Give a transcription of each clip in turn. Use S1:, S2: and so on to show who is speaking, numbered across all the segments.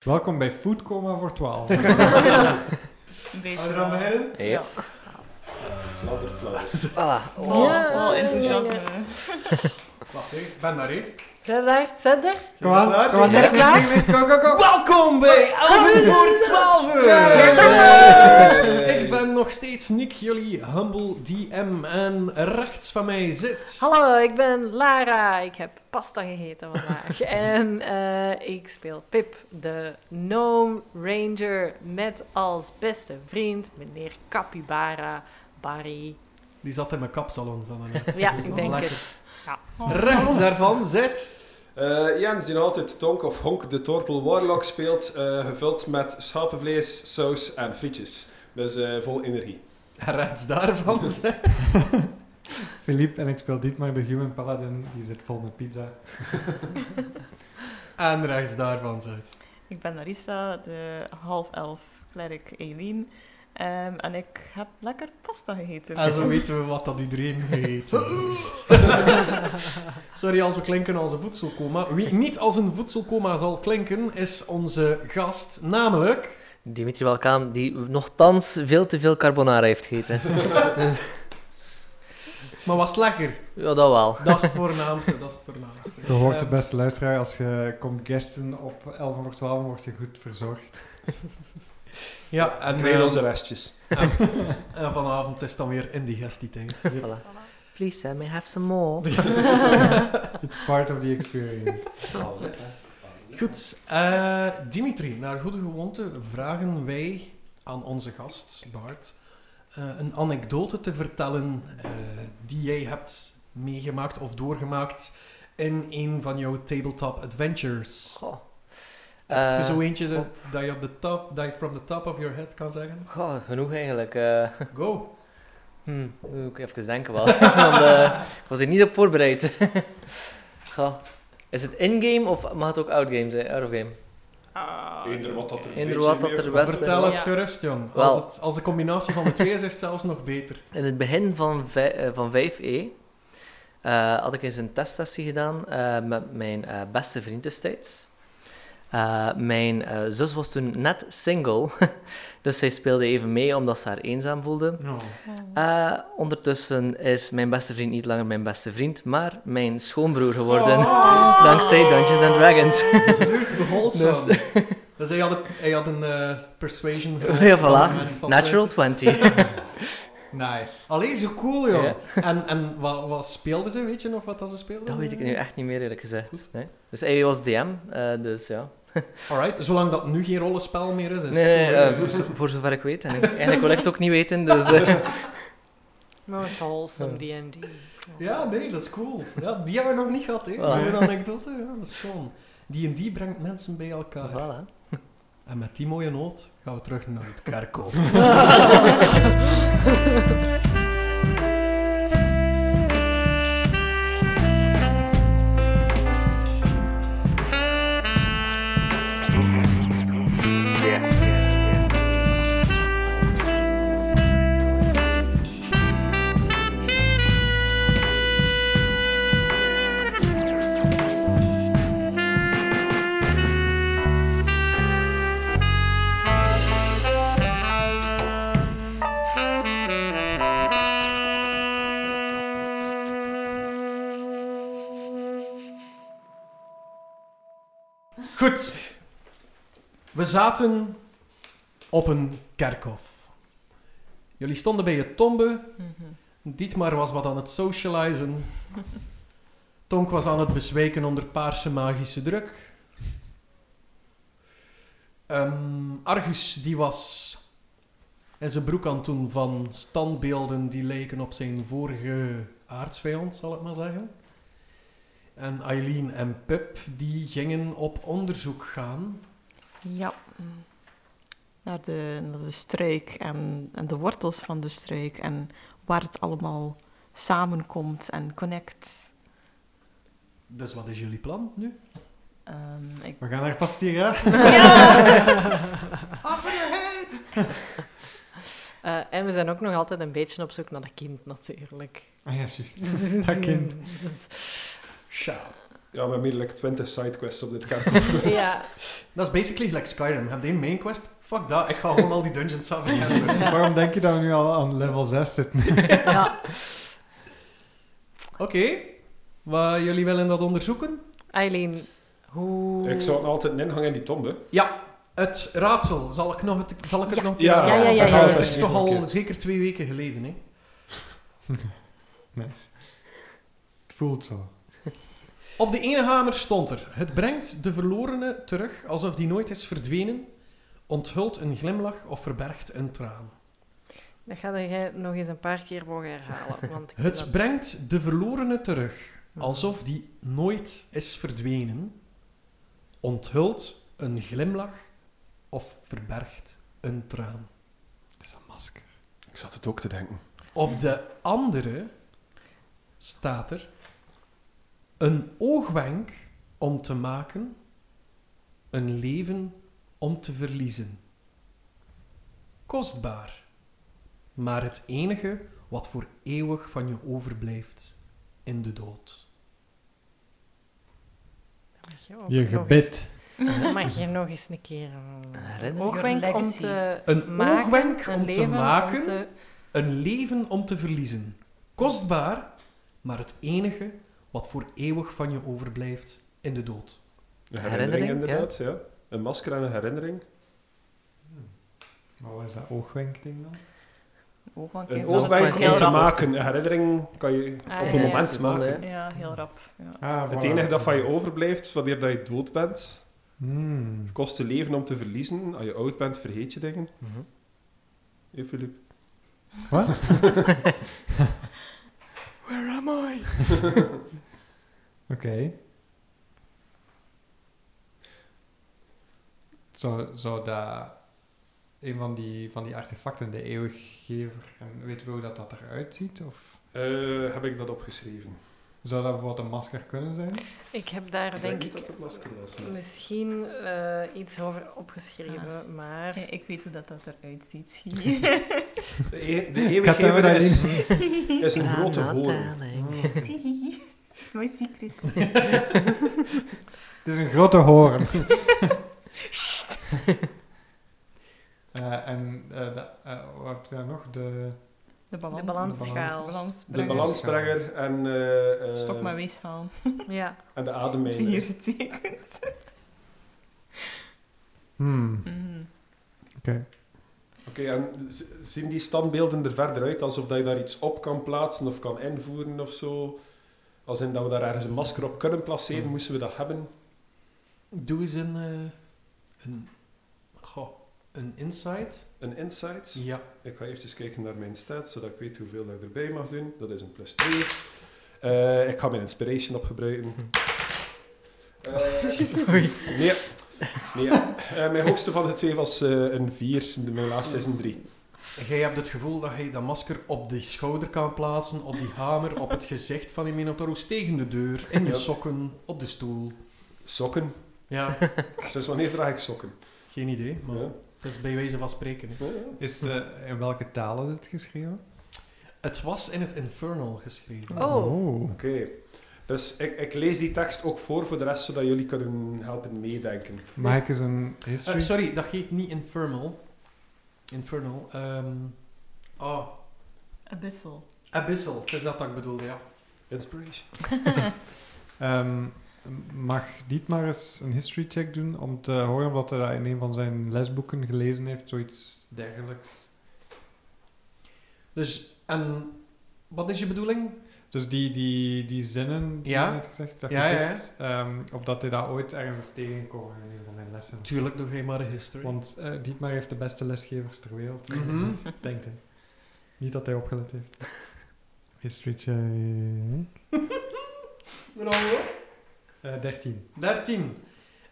S1: Welkom bij Food Coma voor 12.
S2: Een beetje
S3: Adriaan
S2: wel.
S3: Beheerden?
S4: Ja.
S3: Flouter, flouter.
S4: Voilà.
S2: Wow,
S5: Ja,
S2: wow, enthousiasme.
S5: ja,
S3: Wacht, hè, ik ben daar, hè.
S5: Zijn we daar? Zijn we er?
S1: Kom aan,
S3: Zijn we
S1: kom aan. Nee,
S3: klaar?
S1: nee, nee, nee, Go, go, go.
S4: Welkom bij 11 voor 12 uur.
S3: Ik ben nog steeds Nick, jullie humble DM. En rechts van mij zit...
S5: Hallo, ik ben Lara. Ik heb pasta gegeten vandaag. en eh, ik speel Pip, de Gnome Ranger, met als beste vriend meneer Capybara Barry.
S3: Die zat in mijn kapsalon van daarnet.
S5: Ja,
S3: Dat
S5: ik
S3: was
S5: denk
S3: lekker.
S5: het.
S3: Rechts daarvan zit...
S6: Eh, Jens die nog altijd Tonk of Honk de Tortel Warlock speelt, eh, gevuld met schapenvlees, saus en frietjes. Dus eh, vol energie.
S3: En rechts daarvan zit...
S1: Philippe en ik speel Dietmar de Human Paladin. Die zit vol met pizza.
S3: En rechts daarvan zit...
S2: Ik ben Narissa, de half-elf cleric Eileen. Ehm, en ik heb lekker pasta gegeten.
S6: Ah,
S3: En zo weten we wat dat iedereen weet. Sorry als we klinken als een voedselcoma. Wie niet als een voedselcoma zal klinken, is onze gast, namelijk...
S4: Dimitri Walkaan, die nogthans veel te veel carbonara heeft gegeten.
S3: Maar was het lekker?
S4: ja, dat Oh, wel.
S3: Dat is het voornaamste, dat is het voornaamste.
S1: Je hoort de
S3: Ehm,
S1: beste luisteraar. Als je komt gasten op 11 voor 12, word je goed verzorgd.
S3: Ja, en,
S6: Krijg
S3: ehm,
S6: onze restjes.
S3: en vanavond is het dan weer indigestietijd.
S4: Voilà. Please, I may have some more.
S1: It's part of the experience.
S3: Goed, eh, Dimitri, naar goede gewoonte vragen wij aan onze gast, Bart, eh, een anekdote te vertellen eh, die jij hebt meegemaakt of doorgemaakt in een van jouw tabletop adventures.
S4: Goh.
S3: Heb je
S4: Eh,
S3: zo eentje dat- dat je op de top, dat je from the top of your head kan zeggen?
S4: Goh, genoeg eigenlijk. eh
S3: Go!
S4: hm, moet ik even denken wel. Want, eh, ik was er niet op voorbereid. Goh. Is het in-game of mag het ook out-game zijn? Out-of-game.
S2: Ah,
S6: Eender wat dat er-
S4: Eender wat dat er best
S3: Vertel het
S2: Ja.
S3: gerust, jong.
S4: Wel.
S3: Als, het, als de combinatie van de twee is, is het zelfs nog beter.
S4: In het begin van, vij- eh, van 5e eh, had ik eens een testsessie gedaan eh, met mijn eh, beste vriend destijds. Eh, mijn eh, zus was toen net single, dus zij speelde even mee omdat ze haar eenzaam voelde.
S5: Ah.
S4: Eh, ondertussen is mijn beste vriend niet langer mijn beste vriend, maar mijn schoonbroer geworden.
S5: Oh,
S4: Dankzij Dungeons and Dragons.
S3: Dude, de wholesome. Dus, hij, had een, hij had een eh, persuasion gerold
S4: Ja,
S3: op het moment
S4: voilà.
S3: van
S4: Natural 20.
S1: Nice.
S3: het- Allee, zo cool, joh. En, en wat, wat speelden ze? Weet je nog wat dat ze speelden?
S4: Dat weet ik nu echt niet meer eerlijk gezegd.
S3: Goed.
S4: Nee. Dus hij was DM, eh, dus ja.
S3: Alright, zolang dat nu geen rollenspel meer is, is
S4: Nee,
S3: het
S4: nee,
S3: cool,
S4: eh,
S3: hè?
S4: voor, zo- voor zover ik weet. En ik, eigenlijk wil ik het ook niet weten, dus... eh,
S5: Most wholesome D&D.
S3: Ja, nee, dat is cool. Ja, die hebben we nog niet gehad, hè.
S4: Voilà.
S3: Zo'n anekdote, ja, dat is schoon. Die en die brengt mensen bij elkaar.
S4: voilà.
S3: En met die mooie noot gaan we terug naar het kerkhof. Goed. We zaten op een kerkhof. Jullie stonden bij je tombe.
S2: Mhm.
S3: Dietmar was wat aan het socializen. Tonk was aan het bezwijken onder paarse magische druk. Ehm, Argus die was in zijn broek aan het doen van standbeelden die leken op zijn vorige aardsvijand, zal ik maar zeggen. En Eileen en Pip die gingen op onderzoek gaan.
S2: Ja. Naar de, naar de struik en, en de wortels van de struik en waar het allemaal samenkomt en connect.
S3: Dus wat is jullie plan nu?
S2: Ehm, ik
S1: We gaan naar Pastira.
S5: Eh, en we zijn ook nog altijd een beetje op zoek naar dat kind, natuurlijk.
S1: Ah ja, juist. Dat kind.
S3: Sja.
S6: Ja, we hebben hier like 20 sidequests op dit kerkhof.
S5: ja.
S3: Dat is basically like Skyrim. Heb je een main quest? Fuck dat, ik ga gewoon al die dungeons af en
S1: Waarom denk je dat we nu al aan level 6 zitten?
S5: ja.
S3: Oké, Wat jullie willen dat onderzoeken?
S5: Eileen, hoe...
S6: ik zou het altijd inhangen in die tombe.
S3: Ja, het raadsel. Zal ik, nog het, zal ik het
S5: Ja.
S3: nog een
S6: Ja,
S5: ja, ja,
S3: herhalen?
S5: ja, ja,
S3: Eh,
S5: ja.
S3: Het is toch
S6: Een
S3: al
S6: keer.
S3: zeker twee weken geleden, hè?
S1: Nice. Het voelt zo.
S3: Op de ene hamer stond er: Het brengt de verlorene terug alsof die nooit is verdwenen, onthult een glimlach of verbergt een traan.
S5: Dat ga jij nog eens een paar keer mogen herhalen. Want ik vind
S3: Het
S5: dat-
S3: brengt de verlorene terug alsof die nooit is verdwenen, onthult een glimlach of verbergt een traan.
S1: Het is een masker.
S6: Ik zat het ook te denken.
S3: Op de andere staat er een oogwenk om te maken, een leven om te verliezen. Kostbaar, maar het enige wat voor eeuwig van je overblijft in de dood.
S5: Mag je ook
S1: Je
S5: oh, nog
S1: gebit.
S5: eens- Mag je nog eens een keer een
S4: Herinner your
S5: oogwenk om
S4: legacy.
S5: te
S3: Een
S5: maken,
S3: oogwenk
S5: een
S3: om te
S5: leven om
S3: maken,
S5: te-
S3: Een leven om te verliezen. Kostbaar, maar het enige wat voor eeuwig van je overblijft in de dood.
S6: Een herinnering,
S4: Herinnering,
S6: inderdaad, ja. Een masker en een herinnering.
S1: Maar wat is dat oogwenkding dan?
S2: Oogwank
S6: Een
S2: is
S4: oogwenk
S2: altijd
S6: oogwenk
S4: maar
S6: om
S2: heel
S6: te
S4: rap.
S6: maken. Een herinnering kan je
S5: Ah,
S6: op
S5: ja,
S6: een
S5: ja.
S6: moment
S4: Seconde,
S6: maken.
S4: hè.
S2: Ja, heel rap. Ja.
S1: Ah,
S6: Het
S1: voilà.
S6: enige dat van je overblijft, wanneer dat je dood bent,
S1: Hmm.
S6: kost je leven om te verliezen. Als je oud bent, vergeet je dingen.
S4: Mhm.
S6: Hey, Philippe.
S1: Wat? Where am I? Oké. Zou, zou dat een van die, van die artefacten, de eeuwiggever, en weten we hoe dat, dat eruit ziet? Of
S6: Eh, heb ik dat opgeschreven?
S1: zou dat bijvoorbeeld een masker kunnen zijn?
S5: Ik heb daar denk
S6: niet
S5: ik
S6: dat het masker was. maar-
S5: misschien eh, iets over opgeschreven, maar...
S2: Ja, Ah. ik weet hoe dat, dat eruit ziet. Hier.
S6: De, e- de
S1: Ik had daar
S6: eeuwiggever
S1: wel
S6: is,
S1: in.
S6: is een grote
S3: eh,
S6: hoorn.
S1: Hmm.
S2: dat is mijn secret.
S1: Het is een grote hoorn. Eh, en eh, da- eh, wat heb je daar nog? De,
S2: De,
S5: balans-
S2: balans,
S5: balansschaal.
S6: De
S1: Brengen.
S6: balansbrenger en, eh, eh,
S2: Stok maar weeshaal.
S5: Ja.
S6: en de ademmijner.
S2: hier getekend.
S1: Hmm.
S2: Mhm.
S6: Oké, en z- zien die standbeelden er verder uit alsof dat je daar iets op kan plaatsen of kan invoeren of zo? Als in dat we daar ergens een masker op kunnen placeren,
S1: Hmm.
S6: moesten we dat hebben?
S3: Doe eens een. eh, een. Goh, een insight.
S6: Een insight.
S3: Ja.
S6: Ik ga eventjes kijken naar mijn stats, zodat ik weet hoeveel dat ik erbij mag doen. Dat is een plus 2. Eh, ik ga mijn inspiration opgebruiken. Eh
S4: Oei.
S6: nee, nee. Eh, mijn hoogste van de twee was eh, een 4, mijn laatste is een 3.
S3: Jij hebt het gevoel dat je dat masker op de schouder kan plaatsen, op die hamer, op het gezicht van die Minotaurus, tegen de deur, in je
S6: Ja.
S3: sokken, op de stoel.
S6: Sokken.
S3: Ja,
S6: Sinds wanneer draag ik sokken?
S3: geen idee, maar
S6: Ja.
S3: het is bij wijze van spreken. hè.
S1: Is de, in welke taal is het geschreven?
S3: Het was in het Infernal geschreven.
S5: Oh,
S6: Oké. Dus ik, ik lees die tekst ook voor voor de rest, zodat jullie kunnen helpen meedenken.
S1: Mag ik eens een history?
S3: Eh, sorry, dat heet niet Infernal. Infernal. ehm, ah,
S2: Abyssal.
S3: Abyssal. Het is dat dat ik bedoelde, ja.
S6: Inspiration.
S1: Ehm, mag Dietmar eens een history check doen om te horen wat hij daar in een van zijn lesboeken gelezen heeft, zoiets dergelijks?
S3: Dus, en wat is je bedoeling?
S1: Dus die, die, die zinnen die
S3: Ja.
S1: je net gezegd dat
S3: Ja, ja,
S1: gedicht, ehm, of dat hij daar ooit ergens is tegengekomen in een van zijn lessen.
S3: Tuurlijk, doe geen maar een history.
S1: Want eh, Dietmar heeft de beste lesgevers ter wereld,
S3: Mhm.
S1: denkt hij. Niet dat hij opgelet heeft. History check...
S3: Bravo.
S1: Eh 13.
S3: 13.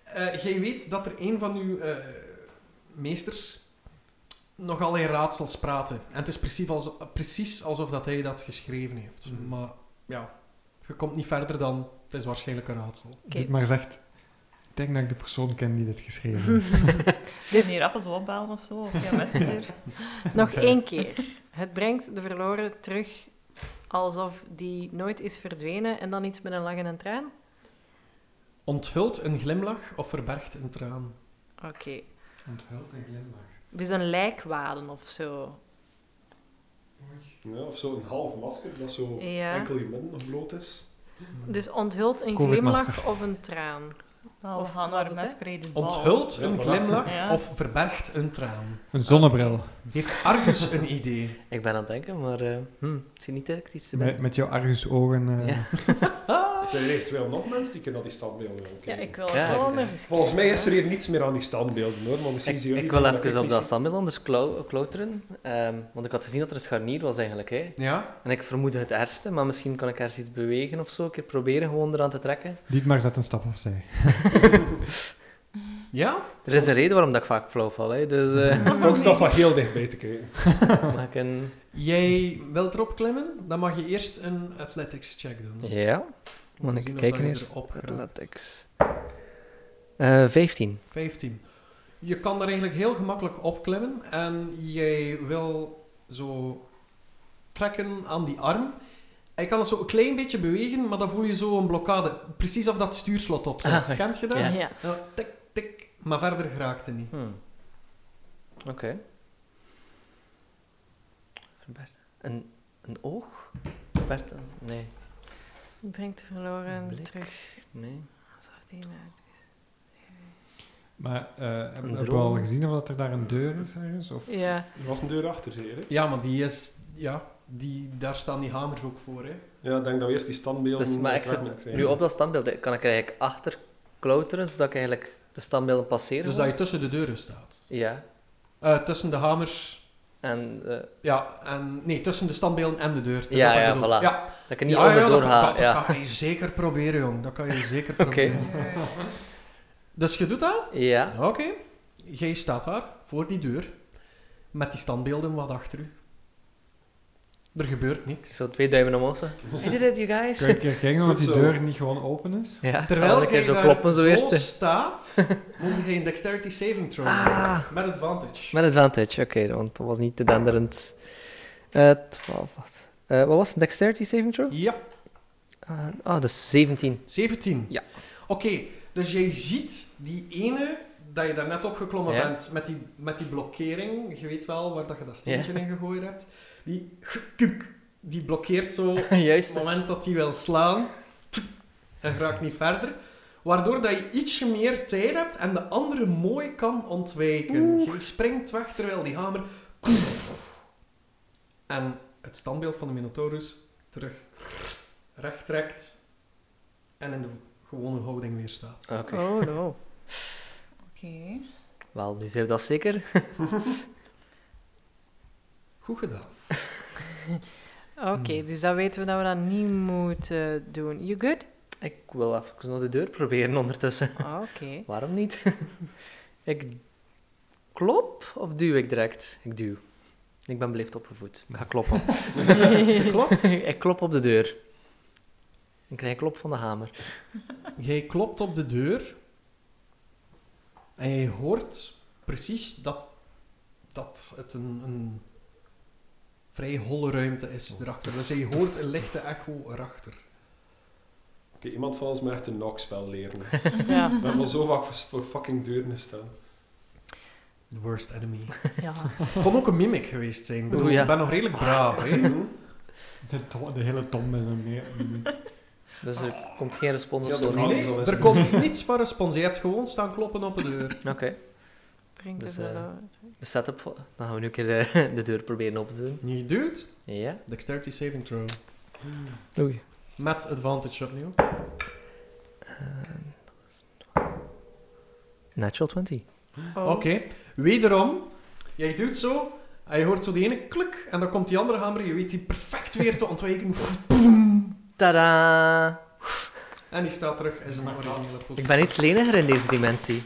S3: Eh, jij weet dat er een van uw eh, meesters nogal in raadsels praatte. En het is precies, als, precies alsof dat hij dat geschreven heeft.
S1: Mhm.
S3: Maar ja, je komt niet verder dan... Het is waarschijnlijk een raadsel.
S5: Oké.
S1: Dietmar zegt... Ik denk dat ik de persoon ken die dit geschreven heeft.
S2: Dus hier appels opbouwen of zo. Of ja, messenger.
S5: nog één keer. Het brengt de verloren terug alsof die nooit is verdwenen en dan iets met een lach en een traan.
S3: Onthult een glimlach of verbergt een traan?
S5: Oké.
S1: Onthult en glimlach.
S5: Dus een lijkwaden of zo.
S6: Ja, of zo'n half masker dat zo
S5: Ja.
S6: enkel je mond nog bloot is.
S5: Dus onthult een
S1: Covid-masker.
S5: glimlach of een traan.
S2: Nou,
S5: Of
S2: we gaan
S5: was
S2: naar de
S5: het, hè?
S2: masquerade bal.
S3: Onthult
S6: Ja,
S3: een
S6: voilà.
S3: glimlach
S2: Ja.
S3: of verbergt een traan?
S1: Een zonnebril.
S4: Oh,
S3: Heeft Argus een idee?
S4: Ik ben aan het denken, maar eh hm, het zit niet direct iets te
S1: Met,
S4: binnen.
S1: met jouw argusogen. ogen. eh.
S4: Ja.
S6: Zijn er eventueel nog mensen die kunnen naar die standbeelden gaan
S5: Ja,
S6: kijken?
S5: ik wil
S4: Ja,
S5: wel
S4: ik-
S5: eens
S6: Volgens mij is
S5: kijken.
S6: er hier niets meer aan die standbeelden hoor, maar misschien
S4: Ik,
S6: zien jullie...
S4: ik wil
S6: dat ik
S4: even op
S6: niet
S4: dat
S6: zie.
S4: standbeeld anders klau- klauteren. ehm, want ik had gezien dat er een scharnier was eigenlijk. Hè.
S3: Ja?
S4: En ik vermoedde het ergste, maar misschien kan ik ergens iets bewegen of zo. Een keer proberen gewoon eraan te trekken.
S1: Dietmar zet een stap opzij.
S3: Ja?
S4: Er is een reden waarom dat ik vaak flauw val. Hè. Dus eh
S6: Toch staat van heel dichtbij te kijken.
S4: mag ik een...
S3: Jij wilt erop klimmen? Dan mag je eerst een athletics check doen.
S4: Ja.
S3: Om
S4: Moet
S3: te
S4: ik
S3: zien of
S4: kijken
S3: dat je
S4: eerst?
S3: erop geraakt.
S4: Latex. Eh 15.
S3: 15. Je kan daar eigenlijk heel gemakkelijk op klimmen en jij wil zo trekken aan die arm. Hij kan het zo een klein beetje bewegen, maar dan voel je zo een blokkade. Precies of dat stuurslot op zit.
S4: Ah,
S3: Kent je dat?
S4: Ja.
S5: Ja.
S3: Nou, tik, tik, maar verder geraakt hij niet.
S4: Hmm. Oké. Verbert. Een, een oog? Verbert, een- nee.
S5: Brengt de verloren
S4: Blik.
S5: terug.
S4: Nee.
S5: Zag die nou-
S1: Maar eh hebben hebben we
S4: droom.
S1: al gezien of dat er daar een deur is ergens? Of
S5: Ja.
S6: Er was een deur achter, zei je, hè?
S3: Ja, maar die is... Ja, die, daar staan die hamers ook voor, hè.
S6: Ja, ik denk dat we eerst die standbeelden...
S4: Dus, maar
S6: uit
S4: ik
S6: weg moeten
S4: zit
S6: krijgen.
S4: nu op dat standbeeld. eh, Kan ik er eigenlijk achter klauteren, zodat ik eigenlijk de standbeelden passeer?
S3: Dus dat
S4: gewoon?
S3: je tussen de deuren staat.
S4: Ja.
S3: Eh, tussen de hamers...
S4: En eh,
S3: Ja, en... Nee, tussen de standbeelden en de deur. Het is
S4: Ja,
S3: dat ik
S4: ja,
S3: bedoel.
S4: voilà.
S3: Ja,
S4: dat ik er niet
S3: ja,
S4: over
S3: ja, dat,
S4: doorga.
S3: kan- dat,
S4: ja.
S3: dat kan je zeker proberen, jong. Dat kan je zeker
S4: Oké.
S3: proberen. Dus je doet dat?
S4: Ja.
S3: Oké. Jij staat daar, voor die deur, met die standbeelden wat achter u. Er gebeurt
S4: Ik
S3: niks.
S4: zal twee duimen omhoog zetten. I did it, you guys.
S1: kan je een keer kijken of
S6: Goed
S1: die
S6: zo.
S1: deur niet gewoon open is?
S4: Ja,
S3: Terwijl jij
S4: ik keer zo
S3: daar
S4: kloppen, zo
S3: zo
S4: eerst. hè.
S3: staat, moet je een dexterity saving throw
S4: Ah.
S3: doen. Met advantage.
S4: Met advantage, oké, want dat was niet te denderend. Eh 12, wat? Eh, wat was het? Dexterity saving throw?
S3: Ja,
S4: Ah, ah, dus 17.
S3: 17.
S4: Ja.
S3: Oké, dus jij ziet die ene dat je daarnet opgeklommen
S4: Ja.
S3: bent met die, met die blokkering. Je weet wel waar dat je dat steentje
S4: Ja.
S3: in gegooid hebt. Die, kuk, die blokkeert zo op het
S4: Juist.
S3: moment dat hij wil slaan. En raakt niet verder. Waardoor dat je ietsje meer tijd hebt en de andere mooi kan ontwijken. Je springt weg terwijl die hamer... En het standbeeld van de Minotaurus terug recht trekt en in de gewone houding weer staat.
S4: Oké,
S5: Oh no.
S2: Oké.
S4: wel, nu zijn we dat zeker.
S3: Goed gedaan.
S5: Oké, dus dan weten we dat we dat niet moeten doen. You good?
S4: Ik wil even nog de deur proberen ondertussen.
S5: Oké.
S4: Waarom niet? ik klop of duw ik direct? Ik duw. Ik ben beleefd opgevoed. Ik ga kloppen.
S3: Klopt.
S4: ik klop op de deur. Ik krijg een klop van de hamer.
S3: Jij klopt op de deur en je hoort precies dat, dat het een, een vrij holle ruimte is erachter. Dus je hoort een lichte echo erachter.
S6: Oké, iemand van ons moet echt een knockspel leren. We
S5: Ja.
S6: hebben al zo vaak voor, voor fucking deuren gestaan.
S3: The worst enemy.
S5: ja.
S3: Kon ook een mimic geweest zijn. Ik bedoel,
S4: Oeh, ja.
S3: ik ben nog redelijk braaf, hè.
S6: Mhm.
S1: De, to- de hele tom is een meer.
S4: Dus er komt geen respons
S6: Ja,
S4: of zo.
S6: dat kan
S4: niets.
S6: niet.
S3: Er komt niets van respons. Je hebt gewoon staan kloppen op de deur.
S4: Oké.
S5: Brengt
S4: Dus,
S5: de
S4: eh,
S5: verloren.
S4: De setup, vo- dan gaan we nu een keer eh, de deur proberen open te doen.
S3: Je duwt.
S4: Ja.
S3: Dexterity saving throw.
S4: Oei.
S3: Met advantage opnieuw.
S4: Natural 20.
S5: Oh.
S3: Oké, wederom. Jij duwt zo, en je hoort zo die ene klik, en dan komt die andere hamer, je weet die perfect weer te ontwijken.
S4: Tada!
S3: En die staat terug in zijn
S6: Oh
S3: originele positie.
S4: Ik ben iets leniger in deze dimensie.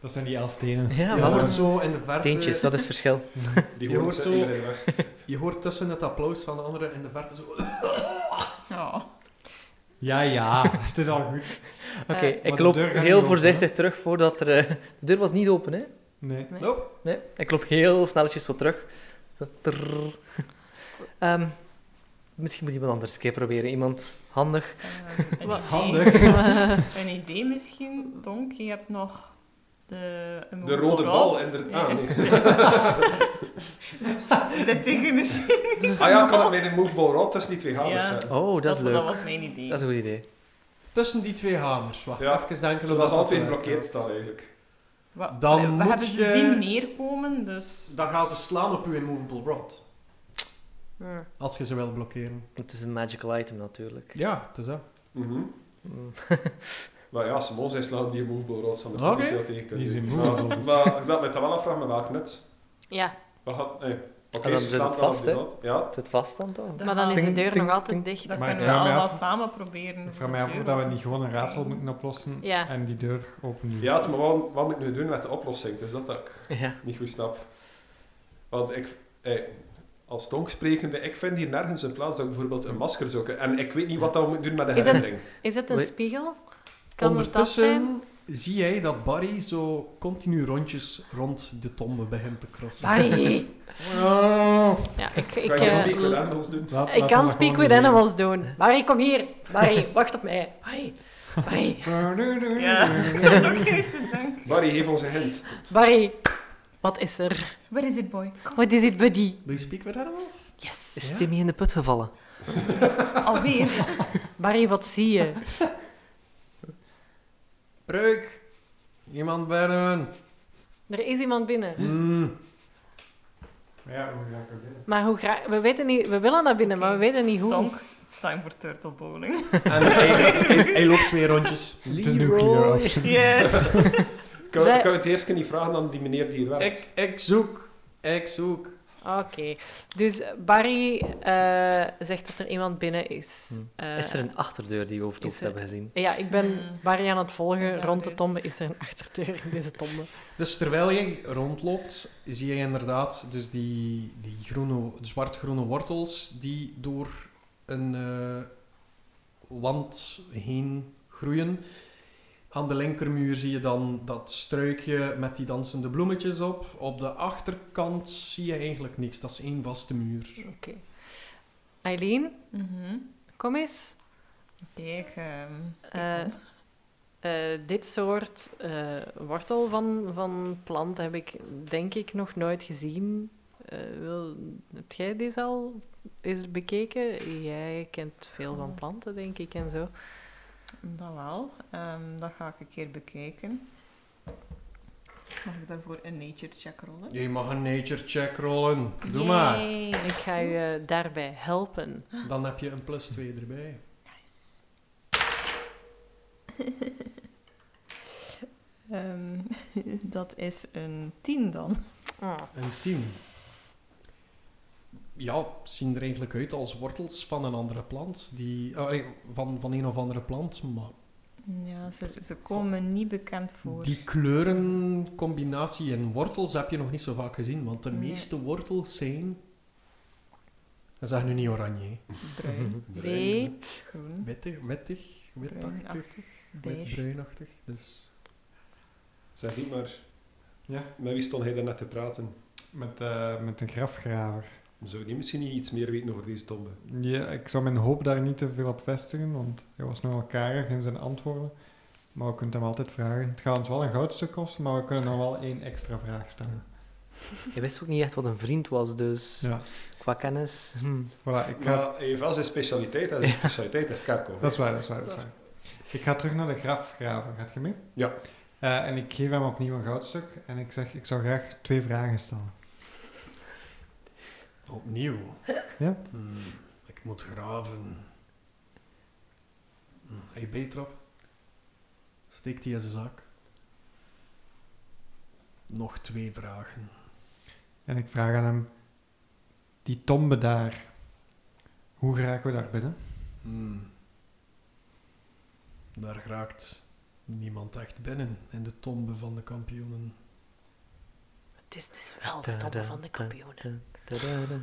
S1: Dat zijn die elf tenen.
S4: Ja,
S3: Je
S4: maar
S3: hoort zo in de verte...
S4: Teentjes, dat is verschil.
S6: Die
S3: Je
S6: hoort
S3: hoort
S6: zo.
S3: zo-
S6: iedereen weg.
S3: Je hoort tussen het applaus van de anderen in de verte zo...
S2: Oh.
S1: Ja, ja, het is al goed.
S4: Oké,
S5: Eh,
S1: Maar
S4: ik
S1: de
S4: loop
S1: deur gaat niet
S4: heel
S1: open,
S4: voorzichtig terug voordat er... eh, de deur was niet open, hè?
S1: Nee.
S5: Nee.
S3: Nope.
S4: Nee, ik loop heel snelletjes zo terug. Zo trrr. Ehm, Misschien moet iemand anders een keer proberen. Iemand
S2: Eh,
S4: handig.
S2: een
S5: Wat
S2: idee.
S1: handig.
S2: een idee misschien, Donk. Je hebt nog de... Een
S6: De rode bal, inderdaad. Ah, nee.
S2: Dat tegen is...
S6: ah ja, kan alleen in Movable Rod tussen die twee hamers
S2: Ja.
S6: zetten.
S4: Oh, dat is leuk.
S2: Dat
S4: Dat
S2: was mijn idee.
S4: is een goed idee.
S3: Tussen die twee hamers. Wacht,
S6: Ja,
S3: even denken. hoe
S6: Zodat ze alle twee
S3: werkt.
S6: geblokkeerd staan eigenlijk.
S2: Wa-
S3: Dan
S2: we we
S3: moet
S2: hebben ze
S3: je-
S2: zien neerkomen, dus...
S3: Dan gaan ze slaan op uw immovable rod.
S5: Ja.
S3: Als je ze wil blokkeren.
S4: Het is een magical item natuurlijk.
S3: Ja, het is dat.
S6: Mhm.
S4: Mm.
S6: Maar ja, Simon zei slaan die Movable Rods, anders
S3: Oké.
S6: okay. niet veel tegen kunnen.
S1: Die zijn
S6: doen.
S1: movable
S6: Maar-
S1: rods.
S6: Maar ik dat met dat wel afvragen met welk net.
S5: ja,
S6: Wat gaat... Nee. Oké,
S4: En
S6: ze
S4: dan zit
S6: slaan
S4: het
S6: wel op
S4: vast,
S6: die
S4: hè?
S6: rod. Ja.
S4: Zit het vast dan toch?
S5: maar dan is de
S4: Ting,
S5: deur
S4: ting,
S5: nog altijd dicht.
S2: Dan
S4: Maar
S2: kunnen
S1: ik
S2: we
S1: vraag mij
S2: allemaal
S1: af-
S2: samen proberen.
S1: Ik vraag mij af of dat we niet gewoon een raadsel moeten oplossen
S5: Ja.
S1: en die deur opnieuw.
S6: Ja, het- maar wat, wat moet ik nu doen met de oplossing? Dus dat dat ik
S4: Ja.
S6: niet goed snap. Want ik... eh, als tongsprekende, ik vind hier nergens een plaats dat ik bijvoorbeeld een masker zou kunnen... En ik weet niet wat dat we moeten doen met de
S5: Is dat-
S6: herinnering.
S5: Is het een
S4: Wait.
S5: spiegel? Kan het dat zijn?
S3: Ondertussen zie jij dat Barry zo continu rondjes rond de tombe begint te crossen.
S5: Bye.
S3: Oh.
S5: Ja, ik, ik,
S6: Kan je
S5: eh,
S6: Speak With Animals doen?
S1: Laat- laten
S5: ik
S1: we
S5: kan
S1: dat
S5: Speak
S1: gewoon
S5: With
S1: doen.
S5: Animals doen. Barry, kom hier. Barry, wacht op mij. Barry, Barry,
S2: Ja, dat is ook juist te denken.
S6: Barry, geef ons een hint.
S5: Barry. Wat is er?
S2: Where is it, boy?
S5: What is it, buddy?
S3: Do you speak with animals?
S5: Yes.
S4: Is
S3: Ja?
S4: Timmy in de put gevallen?
S2: Alweer.
S5: Barry, wat zie je?
S3: Breuk! Iemand binnen!
S5: Er is iemand binnen.
S1: Hm.
S3: Mm.
S1: Ja, hoe ga ik er binnen?
S5: Maar hoe graag... We, weten niet... we willen naar binnen, maar we weten niet hoe.
S2: Donk, it's time for turtle bowling.
S3: En hij, hij- hij loopt twee rondjes.
S1: De nuclear option.
S2: Yes.
S6: Kan,
S5: Wij-
S6: kan je het eerst niet vragen aan die meneer die hier werkt?
S3: Ik, ik zoek. Ik zoek.
S5: Oké. Dus Barry eh, zegt dat er iemand binnen is.
S4: Hm.
S5: Eh,
S4: Is er een achterdeur die we over het
S5: is
S4: hoofd
S5: er-
S4: hebben gezien?
S5: Ja, ik ben
S2: Hmm.
S5: Barry aan het volgen.
S2: Ja,
S5: Rond de
S2: dit.
S5: tombe is er een achterdeur in deze tombe.
S3: Dus terwijl je rondloopt, zie je inderdaad dus die, die groene, zwart-groene wortels die door een eh, wand heen groeien. Aan de linkermuur zie je dan dat struikje met die dansende bloemetjes op. Op de achterkant zie je eigenlijk niks. Dat is één vaste muur.
S5: Eileen,
S2: Mhm.
S5: kom eens.
S2: Oké, ik... ehm, ik
S5: Eh,
S2: ook.
S5: Eh, dit soort eh, wortel van, van plant heb ik denk ik nog nooit gezien. Eh, wil, heb jij deze al eens bekeken? Jij kent veel van planten, denk ik, en zo.
S2: Dat wel. Ehm, dat ga ik een keer bekijken. Mag ik daarvoor een nature check rollen?
S3: Je mag een nature check rollen. Doe maar.
S2: Yay.
S5: Ik ga je daarbij helpen.
S3: Dan heb je een plus 2 erbij.
S2: Nice. Ehm, dat is een 10 dan.
S5: Ah.
S3: Een 10. Ja, zien er eigenlijk uit als wortels van een andere plant. Die, ah, nee, van, van een of andere plant, maar
S2: Ja, ze, ze komen niet bekend voor.
S3: die kleurencombinatie in wortels heb je nog niet zo vaak gezien, want de
S2: Nee.
S3: meeste wortels zijn... Dat zeggen nu niet oranje, hè.
S2: Mhm. Bruin,
S5: Weet.
S2: groen,
S3: wittig, wittig, witachtig,
S2: bruinachtig, beige.
S3: witbruinachtig. Dus
S6: Zeg niet maar.
S1: Ja.
S6: Met wie stond hij daarnet te praten?
S1: Met, eh, met een grafgraver.
S6: Zou die misschien niet iets meer weten over deze tombe?
S1: Ja, ik zou mijn hoop daar niet te veel op vestigen, want hij was nogal karig in zijn antwoorden. Maar we kunnen hem altijd vragen. Het gaat ons wel een goudstuk kosten, maar we kunnen dan wel één extra vraag stellen.
S4: Je wist ook niet echt wat een vriend was, dus
S1: Ja,
S4: qua kennis. hm.
S1: voilà. Ik ga,
S6: Maar hij heeft zijn specialiteit en zijn specialiteit is het kerkhof.
S1: dat is waar, dat is waar, dat is waar. Ik ga terug naar de grafgraver. Gaat je mee?
S6: Ja.
S1: Eh, en ik geef hem opnieuw een goudstuk en ik zeg, ik zou graag twee vragen stellen.
S3: opnieuw.
S1: Ja.
S3: Hmm, ik moet graven. Hmm, Hey, Betrap. Steek die in zijn zak. Nog twee vragen.
S1: En ik vraag aan hem, die tombe daar, hoe geraken we daar binnen?
S3: Hmm. Daar raakt niemand echt binnen in de tombe van de kampioenen.
S5: Het is dus wel de tombe van de kampioenen.
S4: Tadada.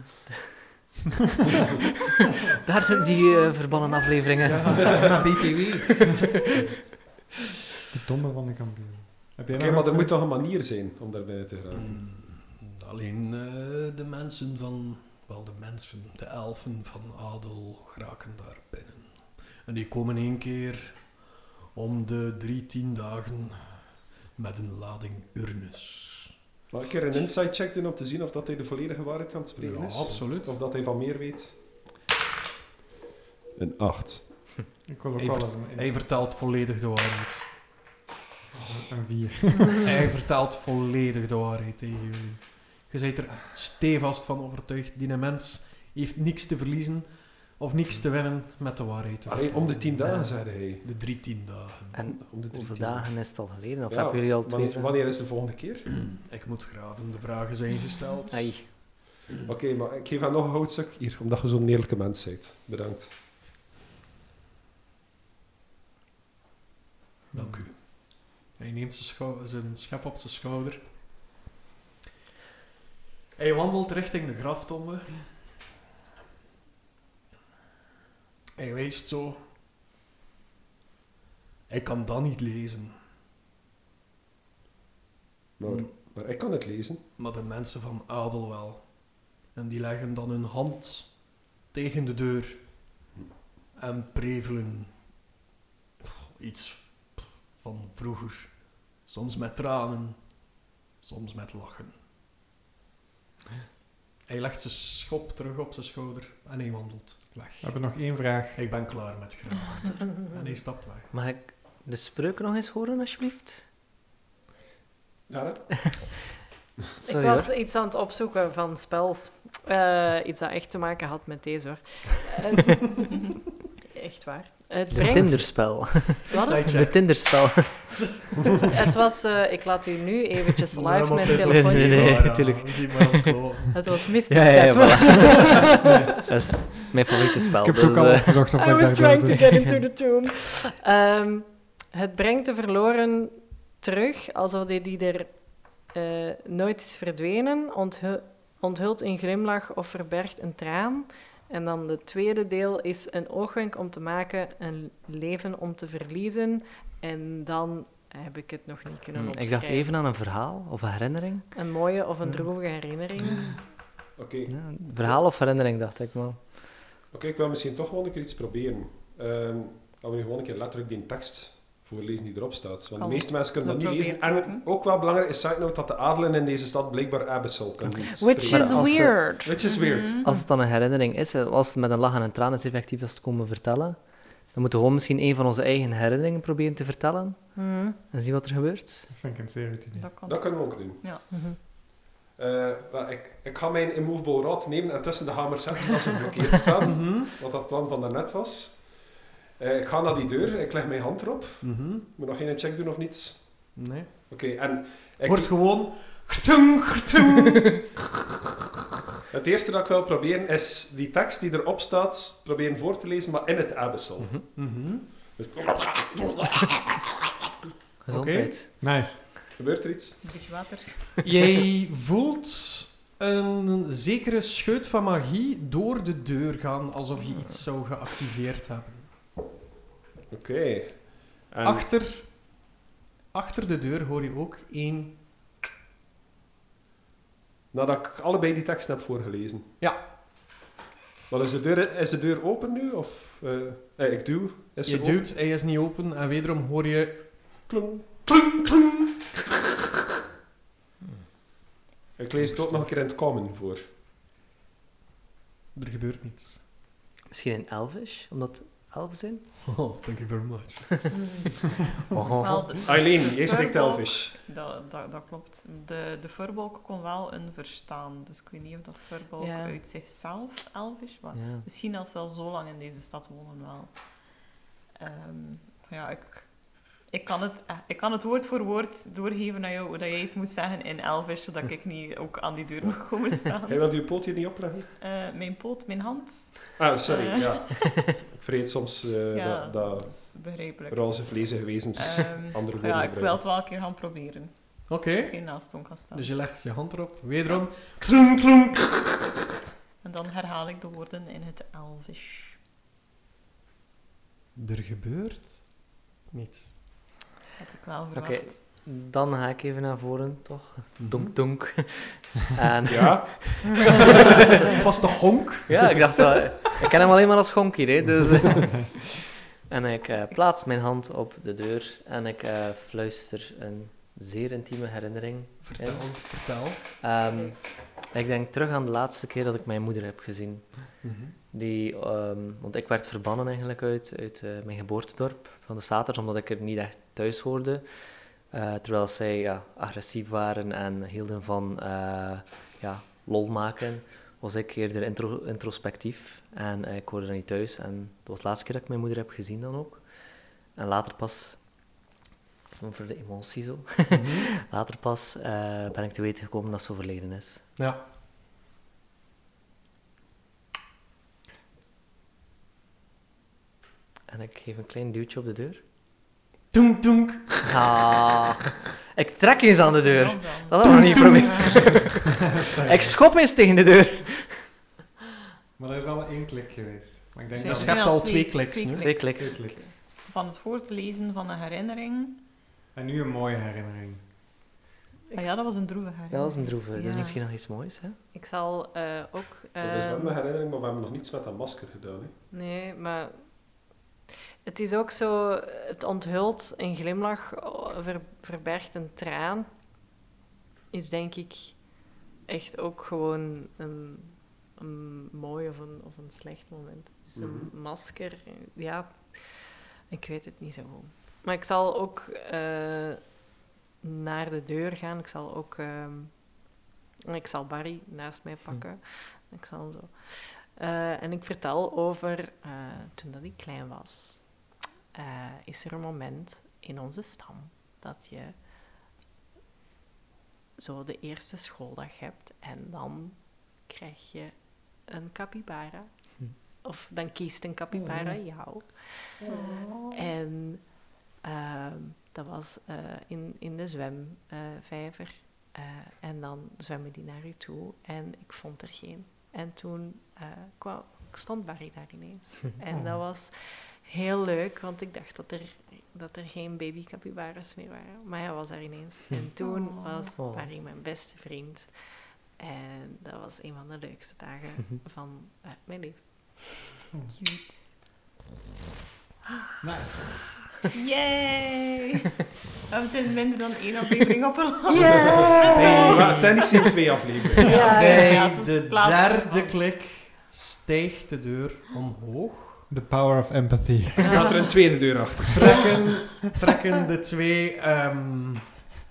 S4: Daar zijn die eh, verbannen afleveringen.
S3: BTW.
S1: De tombe van de kampioen. Heb jij
S6: Oké,
S1: nog
S6: maar
S1: een-
S6: er moet
S1: Mm.
S6: toch een manier zijn om daar binnen te geraken?
S3: Alleen eh, de eh, mensen van wel de mensen, de elfen van Adel, geraken daar binnen. En die komen één keer om de drie, tien dagen met een lading urnes.
S6: Mag ik er een insight check doen om te zien of dat hij de volledige waarheid aan het spreken
S3: Ja,
S6: is?
S3: absoluut.
S6: Of dat hij van meer weet? Een 8.
S1: Ik wil ook
S3: Even-
S1: wel eens een,
S3: Hij vertelt volledig de waarheid.
S1: een vier.
S3: Hij vertelt volledig de waarheid tegen jullie. Je bent er stevast van overtuigd. Die mens heeft niks te verliezen of niks te winnen met de waarheid. te
S6: Allee, om de 10
S3: vertellen.
S6: dagen, zei hij.
S3: De drie tien dagen.
S4: En
S6: Om de drie,
S4: hoeveel
S6: tien dagen.
S4: dagen is het al geleden? Of
S6: Ja,
S4: hebben jullie al twee?
S6: wanneer, wanneer is de volgende keer?
S3: Ik moet graven, de vragen zijn gesteld.
S4: Ai.
S6: Oké, maar ik geef haar nog een houtstuk. Hier, omdat je zo'n eerlijke mens bent. Bedankt.
S3: Dank u. Hij neemt zijn, schou- zijn schep op zijn schouder. Hij wandelt richting de graftombe. Hij wijst zo. Hij kan dat niet lezen.
S4: Mm.
S6: Maar, maar ik kan het lezen.
S3: maar de mensen van adel wel. En die leggen dan hun hand tegen de deur en prevelen Pff, iets van vroeger. Soms met tranen, soms met lachen. Hij legt zijn schop terug op zijn schouder en hij wandelt
S1: We
S3: weg.
S1: hebben nog één vraag.
S3: Ik ben klaar met graven. En hij stapt weg.
S4: Mag ik de spreuk nog eens horen, alsjeblieft?
S6: Ja, hè?
S4: Sorry
S5: ik was
S4: hoor.
S5: iets aan het opzoeken van spels. Eh, iets dat echt te maken had met deze hoor. Eh, echt waar. Het
S4: De
S5: brengt.
S4: Tinderspel.
S5: Wat?
S4: De Tinderspel.
S5: Het was. eh, ik laat u nu eventjes
S3: Nee,
S5: live
S3: maar
S5: mijn
S3: het is ook
S4: Nee,
S5: telefoon.
S4: nee,
S3: niet
S4: nee,
S3: waar, ja.
S4: tuurlijk.
S3: We zien maar aan het kloten.
S5: Het was Mr.
S4: Ja, ja, ja,
S5: Step.
S4: voilà. Dat is mijn favoriete spel.
S1: Ik heb het
S4: dus,
S1: ook al
S4: eh,
S1: opgezocht of
S5: I
S1: dat
S5: was
S1: ik
S5: trying to
S1: daar
S5: get into the tomb. Ehm, het brengt de verloren terug, alsof die, die er eh, nooit is verdwenen, onthu- onthult in glimlach of verbergt een traan. En dan het tweede deel is een oogwenk om te maken, een leven om te verliezen. En dan heb ik het nog niet kunnen
S4: hm, ik
S5: opschrijven.
S4: dacht Hmm. even aan een verhaal of een herinnering.
S5: Een mooie of een droevige herinnering.
S6: Oké,
S4: Ja, een verhaal of herinnering, dacht ik wel.
S6: Oké, ik wil misschien toch wel een keer iets proberen. Ehm dat we nu gewoon een keer letterlijk die tekst voorlezen die erop staat. Want
S5: Kan.
S6: de meeste mensen kunnen dat
S5: Dat
S6: niet lezen.
S5: probeert
S6: En ook wel belangrijk is side note dat de adelen in deze stad blijkbaar Abyssal kunnen
S5: Which
S6: spreken.
S5: is Mm.
S4: Maar als ze-
S5: weird.
S6: Which is weird.
S4: Als het dan een herinnering is, eh, als het met een lach en een traan is effectief dat ze het komen vertellen, dan moeten we gewoon misschien een van onze eigen herinneringen proberen te vertellen
S5: Mhm.
S4: en zien wat er gebeurt.
S1: Dat vind ik een zeer goed idee.
S2: Dat kan.
S6: Dat kunnen we ook doen.
S2: Ja.
S5: Mhm.
S6: Eh, wel, ik, ik ga mijn immovable rod nemen en tussen de hamers zetten als ze geblokkeerd staan.
S3: Mhm,
S6: Wat dat plan van daarnet was. Eh, ik ga naar die deur, ik leg mijn hand erop.
S3: mhm.
S6: Moet nog geen check doen of niets.
S3: Nee.
S6: Oké, en ik,
S3: Wordt gewoon. Gtung, gtung.
S6: het eerste dat ik wil proberen is die tekst die erop staat, proberen voor te lezen, maar in het Abyssal.
S3: Mhm.
S6: Dus-
S4: Gezondheid.
S1: Nice.
S6: Gebeurt er iets?
S2: Een beetje water.
S3: Jij voelt een zekere scheut van magie door de deur gaan, alsof je iets zou geactiveerd hebben.
S6: Oké. En-
S3: Achter, achter de deur hoor je ook één...
S6: Nadat ik allebei die teksten heb voorgelezen.
S3: Ja.
S6: Wat is de deur, is de deur open nu? Of, eh, eh, ik duw. Is
S3: Je
S6: ze open?
S3: duwt, hij is niet open, en wederom hoor je...
S6: Klong.
S3: kling, kling.
S6: Hmm. Ik lees het ook nog een keer in het common voor.
S3: Er gebeurt niets.
S4: Misschien in Elvish, omdat elfen zijn?
S3: Oh, thank you very much.
S4: Oh,
S2: Wel, de-
S6: Eileen, jij spreekt
S2: Purple.
S6: Elvish.
S2: dat, dat, dat klopt. De, de furbolk kon wel een verstaan. Dus ik weet niet of dat furbolk
S5: Ja.
S2: uit zichzelf elf is. Maar
S4: Ja.
S2: misschien als ze al zo lang in deze stad wonen wel. Ehm, ja, ik, ik, kan het, eh, ik kan het woord voor woord doorgeven aan jou hoe dat jij het moet zeggen in elvish, zodat ik niet ook aan die deur mag komen staan.
S6: Hij wilde je poot hier niet opleggen?
S2: Eh, mijn poot, mijn hand.
S6: Ah, sorry,
S2: Eh.
S6: ja. Ik vreet soms eh,
S2: ja,
S6: dat, dat
S2: dat is begrijpelijk.
S6: roze vleesige wezens
S2: Ehm,
S6: andere woorden
S2: ja, ik wil
S6: gebruiken.
S2: het wel een keer gaan proberen.
S3: Oké,
S2: Ik ga naast Tom gaan staan.
S3: dus je legt je hand erop, wederom... Kling, kling.
S2: En dan herhaal ik de woorden in het elvish.
S3: Er gebeurt niets.
S2: Had ik wel
S4: Oké.
S2: verwacht.
S4: Dan ga ik even naar voren, toch?
S3: Mhm.
S4: Donk, donk. en,
S6: Ja,
S3: Het was de honk.
S4: ja, ik dacht, dat- ik ken hem alleen maar als gonkier, hè. Dus, eh. en ik eh, plaats mijn hand op de deur en ik eh, fluister een zeer intieme herinnering.
S3: Vertel, vertel.
S4: Ehm, ik denk terug aan de laatste keer dat ik mijn moeder heb gezien.
S3: Mhm.
S4: Die, ehm, want ik werd verbannen eigenlijk uit, uit eh, mijn geboortedorp van de Staters, omdat ik er niet echt thuis hoorde. Eh, terwijl zij ja, agressief waren en hielden van eh, ja, lol maken, was ik eerder intro, introspectief. En eh, ik hoorde er niet thuis. En dat was de laatste keer dat ik mijn moeder heb gezien dan ook. En later pas, voor de emotie zo, later pas eh, ben ik te weten gekomen dat ze overleden is.
S3: Ja.
S4: En ik geef een klein duwtje op de deur.
S3: Toenk, toenk.
S4: Ah, ik trek eens aan de deur.
S2: Waarom dan?
S4: Dat hadden we nog niet geprobeerd. ik schop eens tegen de deur.
S1: Maar er is al één klik geweest. Maar ik denk
S3: Dus
S1: dat...
S2: Zijn
S3: je hebt
S2: er
S3: al twee kliks nu.
S4: Twee kliks.
S1: Twee kliks.
S2: Van het voortlezen van een herinnering.
S1: En nu een mooie herinnering.
S2: Ah ja, dat was een droeve herinnering.
S4: Dat was een droeve. Dus
S5: Ja.
S4: misschien nog iets moois, hè?
S5: Ik zal eh, ook...
S6: dat is wel
S5: ehm,
S6: mijn herinnering, maar we hebben nog niets met dat masker gedaan. Hè.
S5: Nee, maar het is ook zo, het onthult een glimlach, ver- verbergt een traan. Is denk ik echt ook gewoon een, een mooi of een, of een slecht moment. Dus een
S6: Mhm.
S5: masker, ja, ik weet het niet zo goed. Maar ik zal ook eh, naar de deur gaan. Ik zal ook, ehm, ik zal Barry naast mij pakken. Ik zal hem zo eh, en ik vertel over eh, toen dat ik klein was. eh, is er een moment in onze stam dat je zo de eerste schooldag hebt en dan krijg je een capybara. Of dan kiest een capybara jou. En ehm, dat was eh, in, in de zwemvijver. Eh, en dan zwemmen die naar u toe en ik vond er geen. En toen eh, kwam, stond Barry daar ineens. En dat was heel leuk, want ik dacht dat er, dat er geen baby capybaras meer waren. Maar hij was daar ineens. En toen
S2: Oh.
S5: was
S4: Oh.
S5: Barry mijn beste vriend. En dat was een van de leukste dagen van eh, mijn leven.
S2: Cute.
S1: Nice.
S2: Yay! Oh, We hebben sinds minder dan één aflevering op een land.
S3: Hey.
S6: Maar Tennis in twee afleveringen.
S2: Ja,
S3: Bij
S2: ja, het was
S3: de
S2: plaats-
S3: derde klik stijgt de deur omhoog.
S1: The power of empathy.
S6: Er staat er een tweede deur achter.
S3: Trekken, trekken de twee ehm,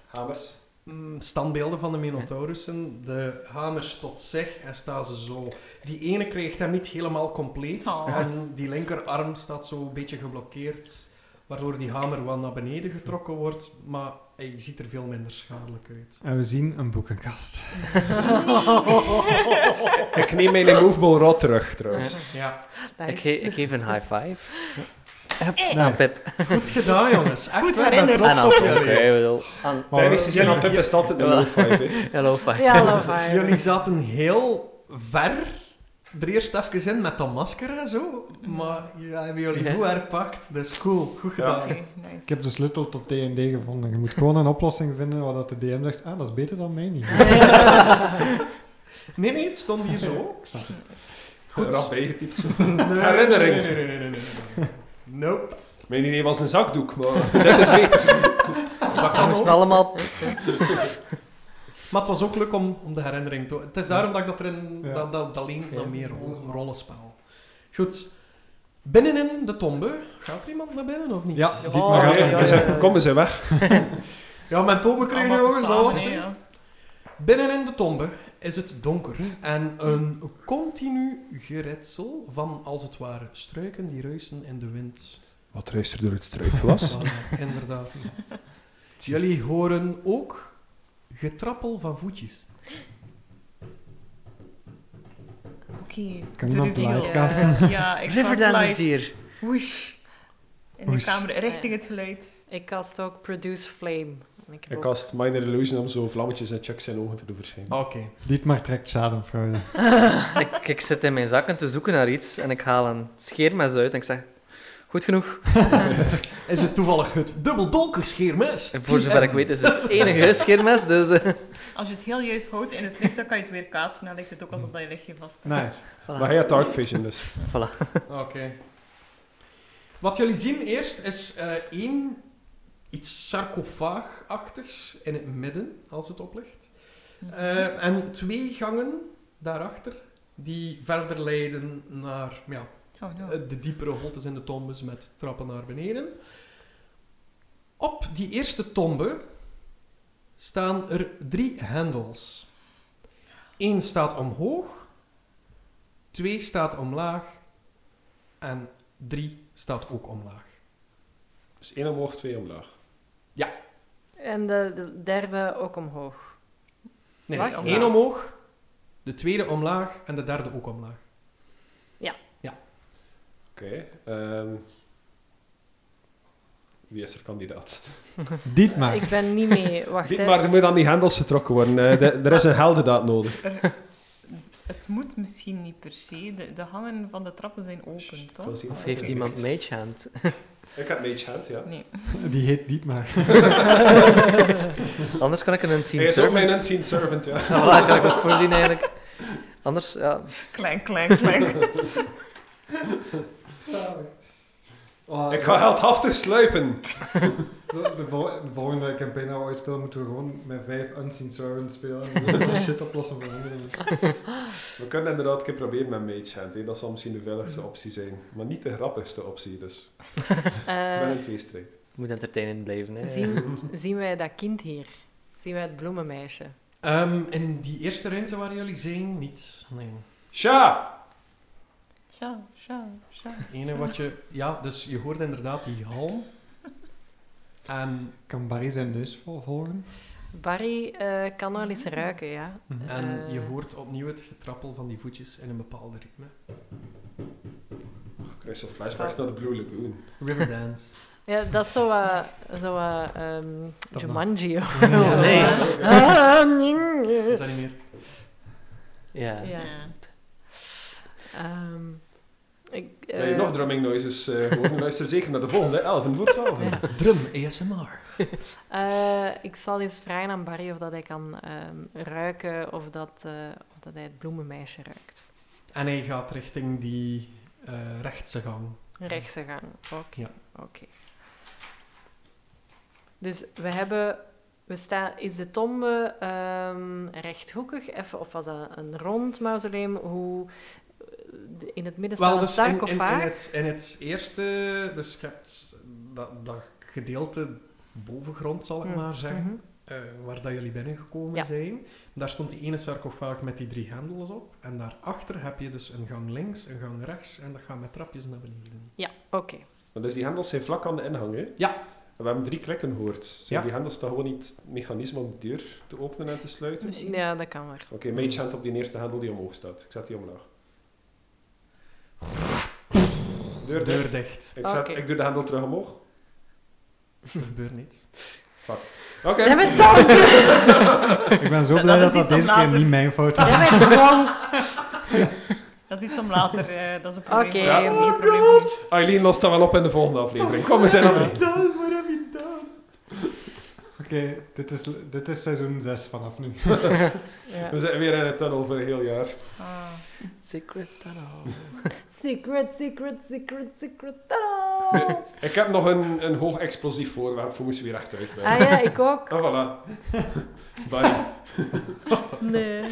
S6: Hamers.
S3: mm, standbeelden van de Minotaurussen de hamers tot zich en staan ze zo. Die ene krijgt hem niet helemaal compleet
S2: Oh.
S3: en die linkerarm staat zo een beetje geblokkeerd, waardoor die hamer wel naar beneden getrokken wordt, maar hij ziet er veel minder schadelijk uit.
S1: En we zien een boekenkast.
S6: Ik neem mijn immovable rod terug, trouwens.
S3: Ja,
S4: Ik, ge- ik geef een high five. Hup,
S1: Hey.
S4: Aan Pip.
S3: goed gedaan jongens. Echt, waar, ik ben
S2: herinnerd.
S3: trots
S4: En
S3: op
S4: aan Pip.
S3: jullie.
S4: hè, ik bedoel, aan-
S1: Maar
S6: Tijdens de zin aan Pip is het altijd een
S4: Ja.
S6: low five. hè.
S4: Hello, five.
S5: Ja, love
S3: Jullie zaten heel ver er eerst even in met dat masker en zo, maar ja, hebben jullie goed herpakt, dus cool, goed
S6: Ja.
S3: gedaan.
S2: Oké, nice.
S1: Ik heb de sleutel tot D&D gevonden. Je moet gewoon een oplossing vinden waar dat de DM zegt, ah, dat is beter dan mij niet.
S3: Nee, nee, het stond hier zo.
S1: Ik snap het.
S3: Goed.
S6: Rap bijgetypt zo.
S3: Nee,
S6: Herinnering.
S3: Nee, nee, nee, nee, nee, nee. Nope.
S6: Mijn idee was een zakdoek, maar dit is beter.
S3: Dat
S4: We
S3: kan ook.
S4: moesten allemaal...
S3: Maar het was ook leuk om, om de herinnering te... Het is daarom dat ik dat erin...
S1: Ja.
S3: Dat, dat, dat leent naar
S1: Ja.
S3: meer rol- rollenspel. Goed. Binnenin de tombe. Gaat er iemand naar binnen of niet?
S1: Ja,
S3: Ja,
S2: Oh,
S1: Dietmar gaat
S6: nee,
S1: naar
S6: we
S1: binnen.
S6: zijn, kom, we zijn weg.
S3: ja mijn tombe krijgen
S2: Allemaal
S3: jongens. Dat
S2: samen,
S3: was
S2: hè,
S3: het.
S2: ja.
S3: Binnenin de tombe is het donker en een continu geritsel van, als het ware, struiken die ruisen in de wind.
S6: Wat ruist er door het struikgewas?
S3: Voilà, inderdaad. Jullie horen ook getrappel van voetjes.
S2: Oké.
S1: Kan
S2: de
S1: iemand
S2: reveal.
S1: livecasten?
S2: Ja, ik
S4: Riverdance is
S2: gaslight.
S4: hier.
S2: Woesh. In de
S1: Woesh.
S2: kamer, richting het geluid.
S5: Ik kast ook Produce Flame. En ik heb
S6: Ik
S5: ook-
S6: cast Minor Illusion om zo vlammetjes en chucks in ogen te doen verschijnen.
S3: Oké.
S1: Dietmar trekt schadenfraude.
S4: Ik, ik zit in mijn zakken te zoeken naar iets en ik haal een scheermes uit en ik zeg... Goed genoeg.
S3: Is het toevallig het dubbeldonker scheermes?
S4: En voor zover ik weet is het enige scheermes, dus... eh,
S2: Als je het heel juist houdt in het licht, dan kan je het weer kaatsen. Dan lijkt het ook alsof dat je lichtje vast hebt.
S1: Nice.
S4: voilà.
S6: Maar hij had dark vision, dus.
S3: Oké. Wat jullie zien eerst is eh, één iets sarcofaagachtigs in het midden, als het oplicht. Eh, en twee gangen daarachter die verder leiden naar ja,
S2: Oh, no.
S3: eh, de diepere holtes in de tombes met trappen naar beneden. Op die eerste tombe staan er drie hendels. Eén staat omhoog, twee staat omlaag en drie staat ook omlaag.
S6: Dus één omhoog, twee omlaag.
S5: En de, de derde ook omhoog.
S3: Nee,
S5: Waar?
S3: nee,
S5: Omlaag.
S3: één omhoog, de tweede omlaag en de derde ook omlaag.
S6: Oké. ehm, wie is er kandidaat?
S1: Dietmar.
S5: Ik ben niet mee. Wacht,
S6: Dit,
S5: hè.
S6: maar er moet aan Ah. die hendels getrokken worden. Eh, de- er is een heldendaad nodig.
S2: Er- het moet misschien niet per se. De, de hangen van de trappen zijn open,
S6: Ik wil
S2: toch?
S6: zien
S4: Of heeft
S6: ik-
S4: iemand Mage Hand?
S6: Ik heb mage hand, ja.
S2: Nee.
S1: Die heet Dietmar.
S4: Anders kan ik een unseen
S6: Hij is ook mijn
S4: servant.
S6: unseen servant, ja.
S4: Voilà, kan ik ook voorzien eigenlijk. Anders, ja,
S2: Klein, klein,
S5: Eh,
S2: klein.
S1: Oh,
S6: Ik ga heldhaftig sluipen.
S1: zo, de, vol- de volgende campaign dat we ooit spelen, moeten we gewoon met vijf Unseen Servants spelen. En dan de shit oplossen voor anderen.
S6: We kunnen inderdaad een keer proberen met mage hand. Hè. Dat zal misschien de veiligste optie zijn. Maar niet de grappigste optie, dus. Ik ben
S5: Eh,
S6: in twee strijd.
S4: moet entertainend blijven. Hè.
S5: zien, zien wij dat kind hier? Zien wij het bloemenmeisje?
S3: Ehm, in die eerste ruimte waar jullie zijn, niet. Nee.
S6: Sha!
S2: Sja, sja, sja.
S3: Het ene wat je... Ja, dus je hoort inderdaad die Ehm, hal. En,
S1: Kan Barry zijn neus vol- volgen?
S5: Barry eh, kan wel iets ruiken, ja.
S3: Mhm. en je
S5: Eh,
S3: hoort opnieuw het getrappel van die voetjes in een bepaalde ritme.
S6: Ik krijg zo flashbacks naar de Blue Lagoon.
S3: Riverdance.
S5: Ja, dat is zo wat...
S2: Nice.
S5: Zo wat... ehm,
S1: Dat
S5: Jumanji. of zo.
S4: Nee.
S5: Ah, nee.
S3: Is dat niet meer?
S4: Ja.
S5: Ja.
S2: Ja.
S5: Ehm, ik,
S6: Wil je
S5: eh,
S6: nog drumming noises eh horen? Luister zeker naar de volgende, 11 voor 12.
S5: Ja.
S3: Drum ASMR.
S5: eh, ik zal eens vragen aan Barry of dat hij kan ehm, ruiken of dat, eh, of dat hij het bloemenmeisje ruikt.
S3: En hij gaat richting die eh, rechtse gang.
S5: Rechtse gang. Oké.
S3: Ja.
S5: Oké. Dus we hebben. We staan, is de tombe ehm, rechthoekig even, of was dat een rond mausoleum? Hoe, de- in het midden staat
S3: Wel,
S5: een
S3: dus in, in, in,
S5: sarcofaag.
S3: het, in het eerste, dus je hebt dat, dat gedeelte bovengrond, zal ik
S5: Mm,
S3: maar zeggen,
S5: mhm.
S3: eh, waar dat jullie binnengekomen
S5: Ja.
S3: zijn. Daar stond die ene sarcofaag met die drie hendels op. En daarachter heb je dus een gang links, een gang rechts, en dat gaat met trapjes naar beneden.
S5: Ja, oké.
S6: Maar dus die hendels zijn vlak aan de ingang, hè?
S3: Ja.
S6: En we hebben drie klikken gehoord. Zijn
S3: Ja.
S6: die hendels dan gewoon niet het mechanisme om de deur te openen en te sluiten? Oké,
S5: Ja, dat kan maar.
S6: mage hand op die eerste hendel die omhoog staat. Ik zet die omlaag. Deur dicht.
S3: Deur dicht.
S6: Ik, zet,
S5: Oké.
S6: ik doe de hendel terug omhoog.
S3: Er gebeurt niets.
S6: Fuck. Oké.
S5: Zijn we dronken?
S1: Ik ben zo
S2: Dat
S1: blij
S2: is
S1: dat dat
S2: iets om
S1: deze keer
S2: later.
S1: niet mijn fout was.
S5: Zijn we dronken?
S2: Dat is iets om later. eh, dat is een probleem.
S5: Oké.
S2: Ja.
S5: Oh
S2: Een probleem.
S6: Aileen lost dat wel op in de volgende aflevering. Kom, we zijn er mee.
S3: Dan, wat heb je gedaan?
S1: Oké, dit is dit is seizoen 6 vanaf nu.
S5: Ja.
S6: We zijn weer in het tunnel voor een heel jaar.
S2: Ah.
S4: Secret tunnel.
S5: Secret, secret, secret, secret. Tadaa!
S6: Ik heb nog een, een hoog explosief voorwerp voor moesten we weer achteruit werken.
S5: Ah ja, ik ook.
S6: Ah, voilà. Bye.
S5: Nee.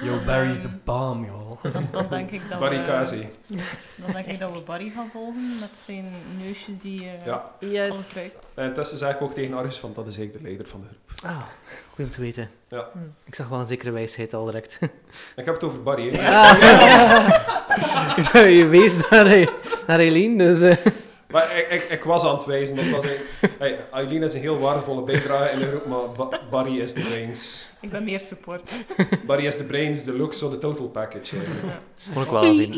S3: Yo, Barry's the bomb, joh.
S2: Dan, dan denk ik dat
S5: eh,
S6: Barry
S2: we,
S6: Kazi.
S2: dan denk ik dat we Barry gaan volgen met zijn neusje die eh
S6: Ja.
S2: alles
S5: Yes.
S2: ruikt.
S6: En intussen zeg ik Eh, ook tegen Aris van, dat is eigenlijk de leider van de groep.
S4: Ah, goed om te weten.
S6: Ja.
S5: Hm.
S4: Ik zag wel een zekere wijsheid al direct.
S6: Ik heb het over Barry. hè.
S4: Ah. je wees naar, naar Eileen, dus... eh,
S6: Maar ik, ik, ik was aan het wijzen, want het was eigenlijk- hey, Aileen is een heel waardevolle bijdrage in de groep, maar Ba- Barry is de brains.
S2: Ik ben meer support.
S6: Barry is de brains, de looks, zo de total package. eigenlijk.
S4: kon ik wel zien.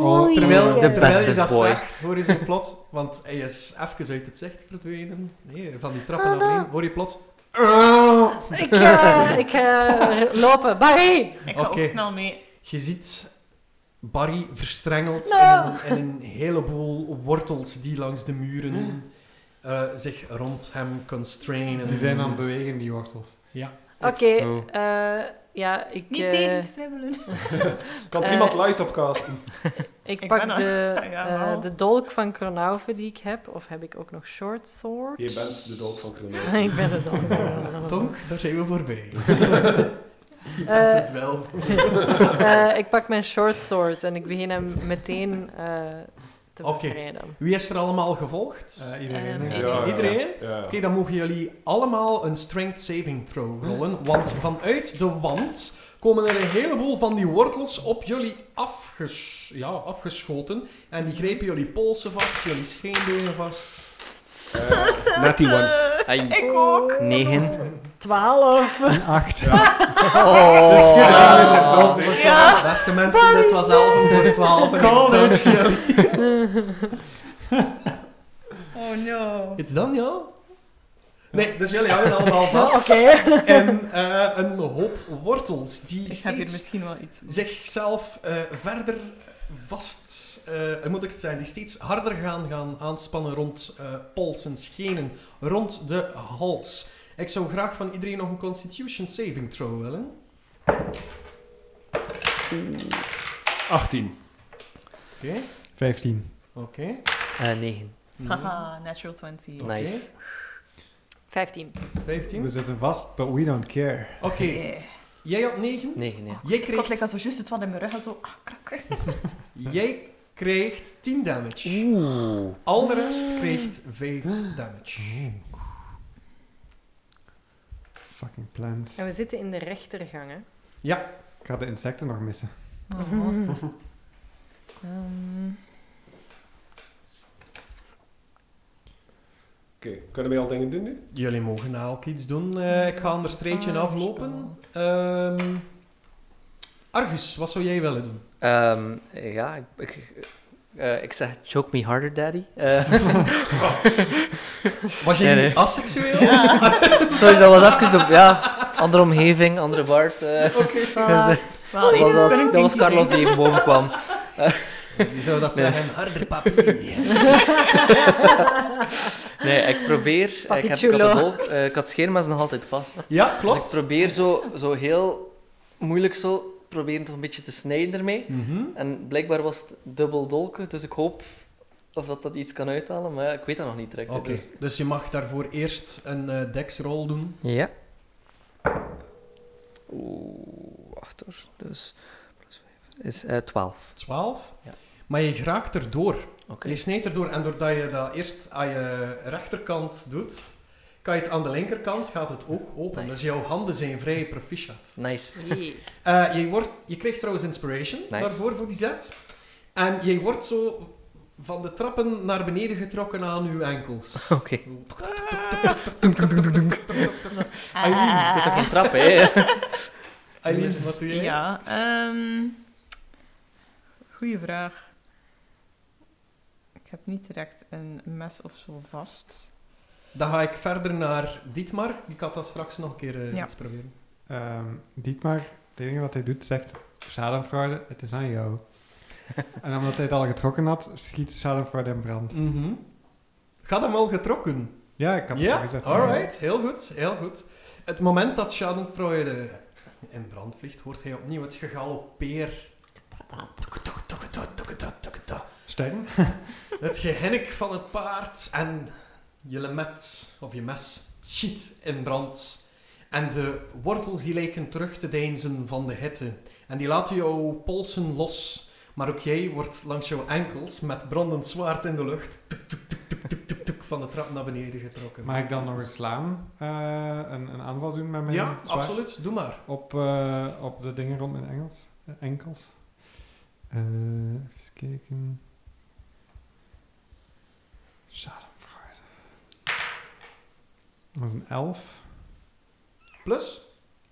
S1: Oh,
S3: Terwijl,
S4: De
S3: terwijl je
S4: beste
S3: dat
S4: boy.
S3: zegt, hoor je zo plots, want hij is even uit het zicht verdwenen, nee, van die trappen naar beneden, hoor je plots... "Ah."
S5: Ik, eh, ik ga lopen. Barry!
S2: Ik ga
S3: Oké.
S2: ook snel mee.
S3: Je ziet Barry verstrengeld
S5: No.
S3: en, een, en een heleboel wortels die langs de muren eh, zich rond hem constrainen.
S1: Die zijn aan het bewegen, die wortels.
S5: Oké,
S1: Oh.
S5: eh, ja, ik,
S2: Niet
S5: eh,
S2: tegenstribbelen.
S6: Kan er
S5: Eh,
S6: iemand light op casten?
S5: ik
S2: Ik
S5: pak
S2: ben er.
S5: de,
S2: Ja,
S5: eh,
S2: wel.
S5: de dolk van Kronauve die ik heb. Of heb ik ook nog short sword?
S6: Je bent de dolk van Kronoven.
S5: ik ben de dolk van Kronauve.
S3: Tonk, daar zijn we voorbij. Je bent het wel.
S5: Eh, ik pak mijn short sword en ik begin hem meteen eh, te
S3: Oké.
S5: bevrijden.
S3: Wie is er allemaal gevolgd?
S1: Eh, iedereen.
S5: Eh,
S1: hè?
S5: Ja.
S3: Iedereen?
S6: Ja.
S3: Oké, dan mogen jullie allemaal een strength saving throw
S2: Hm.
S3: rollen. Want vanuit de wand komen er een heleboel van die wortels op jullie afges ja, afgeschoten. En die grepen jullie polsen vast, jullie scheenbenen vast.
S7: Natty one.
S4: Ai.
S2: Ik ook.
S4: Negen.
S5: Twaalf!
S1: Een acht. Dus
S6: Daar is
S4: Oh.
S6: het dood, hè.
S2: Ja.
S3: Beste mensen, dit was 11 voor 12. En ik dank jullie.
S2: Oh no.
S3: It's done, ja? Nee, dus jullie houden allemaal vast. En eh, een hoop wortels die
S2: Ik heb hier
S3: steeds
S2: misschien wel iets.
S3: zichzelf eh, verder vast, eh, hoe moet ik het zeggen, die steeds harder gaan, gaan aanspannen rond eh, pols en schenen, rond de hals. Ik zou graag van iedereen nog een Constitution Saving Throw willen.
S7: 18.
S3: Oké,
S1: Vijftien.
S3: oké. Hmm.
S4: Eh, negen.
S2: Haha, natural 20.
S3: Oké.
S4: Nice.
S5: Vijftien.
S3: 15.
S1: We
S3: Oké,
S1: zitten vast, but we don't care.
S2: Yeah.
S3: jij had 9.
S4: Negen, ja.
S3: Jij
S2: Eh, Ik had
S3: kreeg,
S2: like, zo juist het wat in mijn rug en zo. Ah, krakker.
S3: jij kreeg 10 damage.
S4: Oeh.
S3: Al de rest kreeg 5 damage.
S1: Fucking plant.
S5: En we zitten in de rechtergang, hè?
S1: Ik ga de insecten nog missen.
S2: Ehm,
S6: Oké, kunnen wij al dingen doen nu?
S3: Jullie mogen elk iets doen. Eh, ik ga anders streetje
S2: Ah,
S3: aflopen. Ehm Argus, wat zou jij willen doen?
S4: Ehm, ja, ik, ik, eh, ik zeg choke me harder, daddy. Eh,
S3: Was jij
S4: Nee,
S3: niet
S4: nee.
S3: asexueel?
S4: sorry, dat was even de... Ja, andere omgeving, andere baard. eh.
S2: Oh,
S4: Dus, eh,
S2: Wel,
S4: dat,
S2: eerst
S4: was,
S2: kunnen
S4: dat
S2: we
S4: was
S2: niet
S4: Carlos die
S2: zien.
S4: even boven kwam.
S3: Die zou dat
S4: Nee.
S3: zeggen, harder papier.
S4: Nee, ik probeer... eh, Ik, heb, ik, had
S5: Papichulo.
S4: de dolk, eh, ik had scheermes nog altijd vast.
S3: Ja,
S4: Dus ik
S3: klopt.
S4: probeer zo, zo heel moeilijk zo... Proberen toch een beetje te snijden ermee.
S3: Mhm.
S4: En blijkbaar was het dubbel dolken, dus ik hoop of dat, dat iets kan uithalen. Maar ja, ik weet dat nog niet direct.
S3: Oké,
S4: hè, Dus...
S3: dus je mag daarvoor eerst een eh deksrol doen.
S4: Ja. Oeh, wacht hoor. Dus plus 5 is eh 12.
S3: 12.
S4: Ja.
S3: Maar je raakt erdoor.
S4: Oké.
S3: Je snijdt erdoor en doordat je dat eerst aan je rechterkant doet, kan je het aan de linkerkant, gaat het ook open.
S4: Nice.
S3: Dus jouw handen zijn vrij proficiat.
S4: Nice.
S5: Jee.
S3: Eh, je, wordt, je krijgt trouwens inspiration
S4: Nice.
S3: daarvoor, voor die zet. En je wordt zo van de trappen naar beneden getrokken aan je enkels.
S4: Oké.
S2: Ah,
S3: Aileen,
S4: Het is toch geen trap, hè?
S3: Aileen, wat doe jij?
S2: Ja, ehm goeie vraag. Ik heb niet direct een mes of zo vast.
S3: Dan ga ik verder naar Dietmar. Ik had dat straks nog een keer eh,
S2: Ja.
S3: iets proberen.
S1: Ehm, Dietmar, het enige wat hij doet, zegt... Schadenfraude, het is aan jou. en omdat hij het al getrokken had, schiet schadenfraude in brand.
S3: Mhm. Gaat hem al getrokken?
S1: Ja, ik heb het al
S3: Ja?
S1: gezegd.
S3: Alright, heel goed, heel goed. Het moment dat Schadenfreude in brand vliegt, hoort hij opnieuw het gegalopeer.
S1: Stijn?
S3: Het gehinnik van het paard en je lemet of je mes schiet in brand. En de wortels die lijken terug te deinzen van de hitte. En die laten jouw polsen los. Maar ook jij wordt langs jouw enkels met brandend zwaard in de lucht tuk, tuk, tuk, tuk, tuk, tuk, tuk, van de trap naar beneden getrokken.
S1: Mag ik dan nog eens slaan? eh, een, een aanval doen met mijn
S3: Ja,
S1: zwaard?
S3: absoluut. Doe maar.
S1: Op, eh, op de dingen rond mijn Engels, eh, enkels. Eh, even kijken. Schadenfreude. Dat is een elf.
S3: Plus,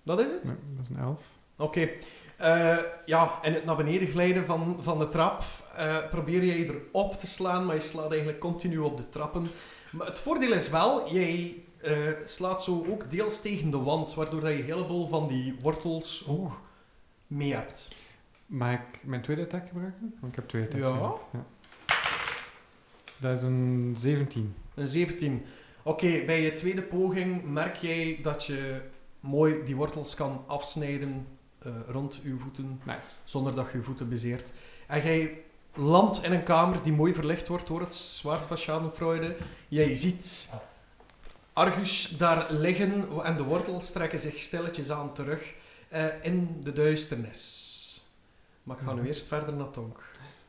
S3: dat is het.
S1: Nee, dat is een elf.
S3: Oké. Eh, ja, en het naar beneden glijden van, van de trap eh, probeer jij erop te slaan, maar je slaat eigenlijk continu op de trappen. Maar het voordeel is wel, jij eh, slaat zo ook deels tegen de wand, waardoor dat je een heleboel van die wortels ook mee hebt.
S1: Mag ik mijn tweede attack gebruiken? Want ik heb twee attacks.
S3: Ja.
S1: gedaan, ja. Dat is een 17.
S3: Een 17. Oké, bij je tweede poging merk jij dat je mooi die wortels kan afsnijden eh, rond uw voeten,
S1: Nice.
S3: zonder dat je je voeten bezeert. En jij landt in een kamer die mooi verlicht wordt door het zwaard van Schadenfreude. Jij ziet Argus daar liggen en de wortels trekken zich stilletjes aan terug eh, in de duisternis. Maar ik ga nu eerst verder naar Tonk.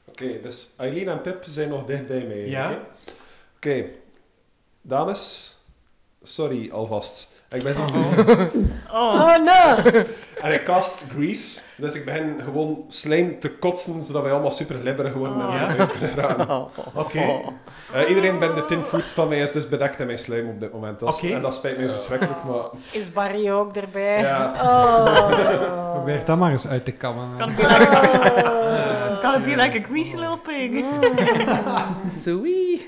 S6: Oké, dus Eileen en Pip zijn nog dicht bij mij.
S3: Ja.
S6: Oké, Oké. dames. Sorry alvast. Ik ben zo
S2: Oh,
S5: Oh no!
S6: En ik cast Grease, dus ik begin gewoon slijm te kotsen, zodat wij allemaal super glibberig worden en
S2: Oh.
S6: ja? uit kunnen raken.
S4: Oh.
S3: Oké.
S6: Eh, iedereen binnen de 10 voet van mij is dus bedekt in mijn slijm op dit moment. Dat is-
S3: Oké.
S6: En dat spijt mij verschrikkelijk, maar...
S5: Is Barry ook erbij?
S6: Ja.
S5: Oh.
S1: Probeer dat maar eens uit te kammen.
S2: kan het be like,
S5: Oh.
S2: can it be like a greasy little pig?
S4: Zoei.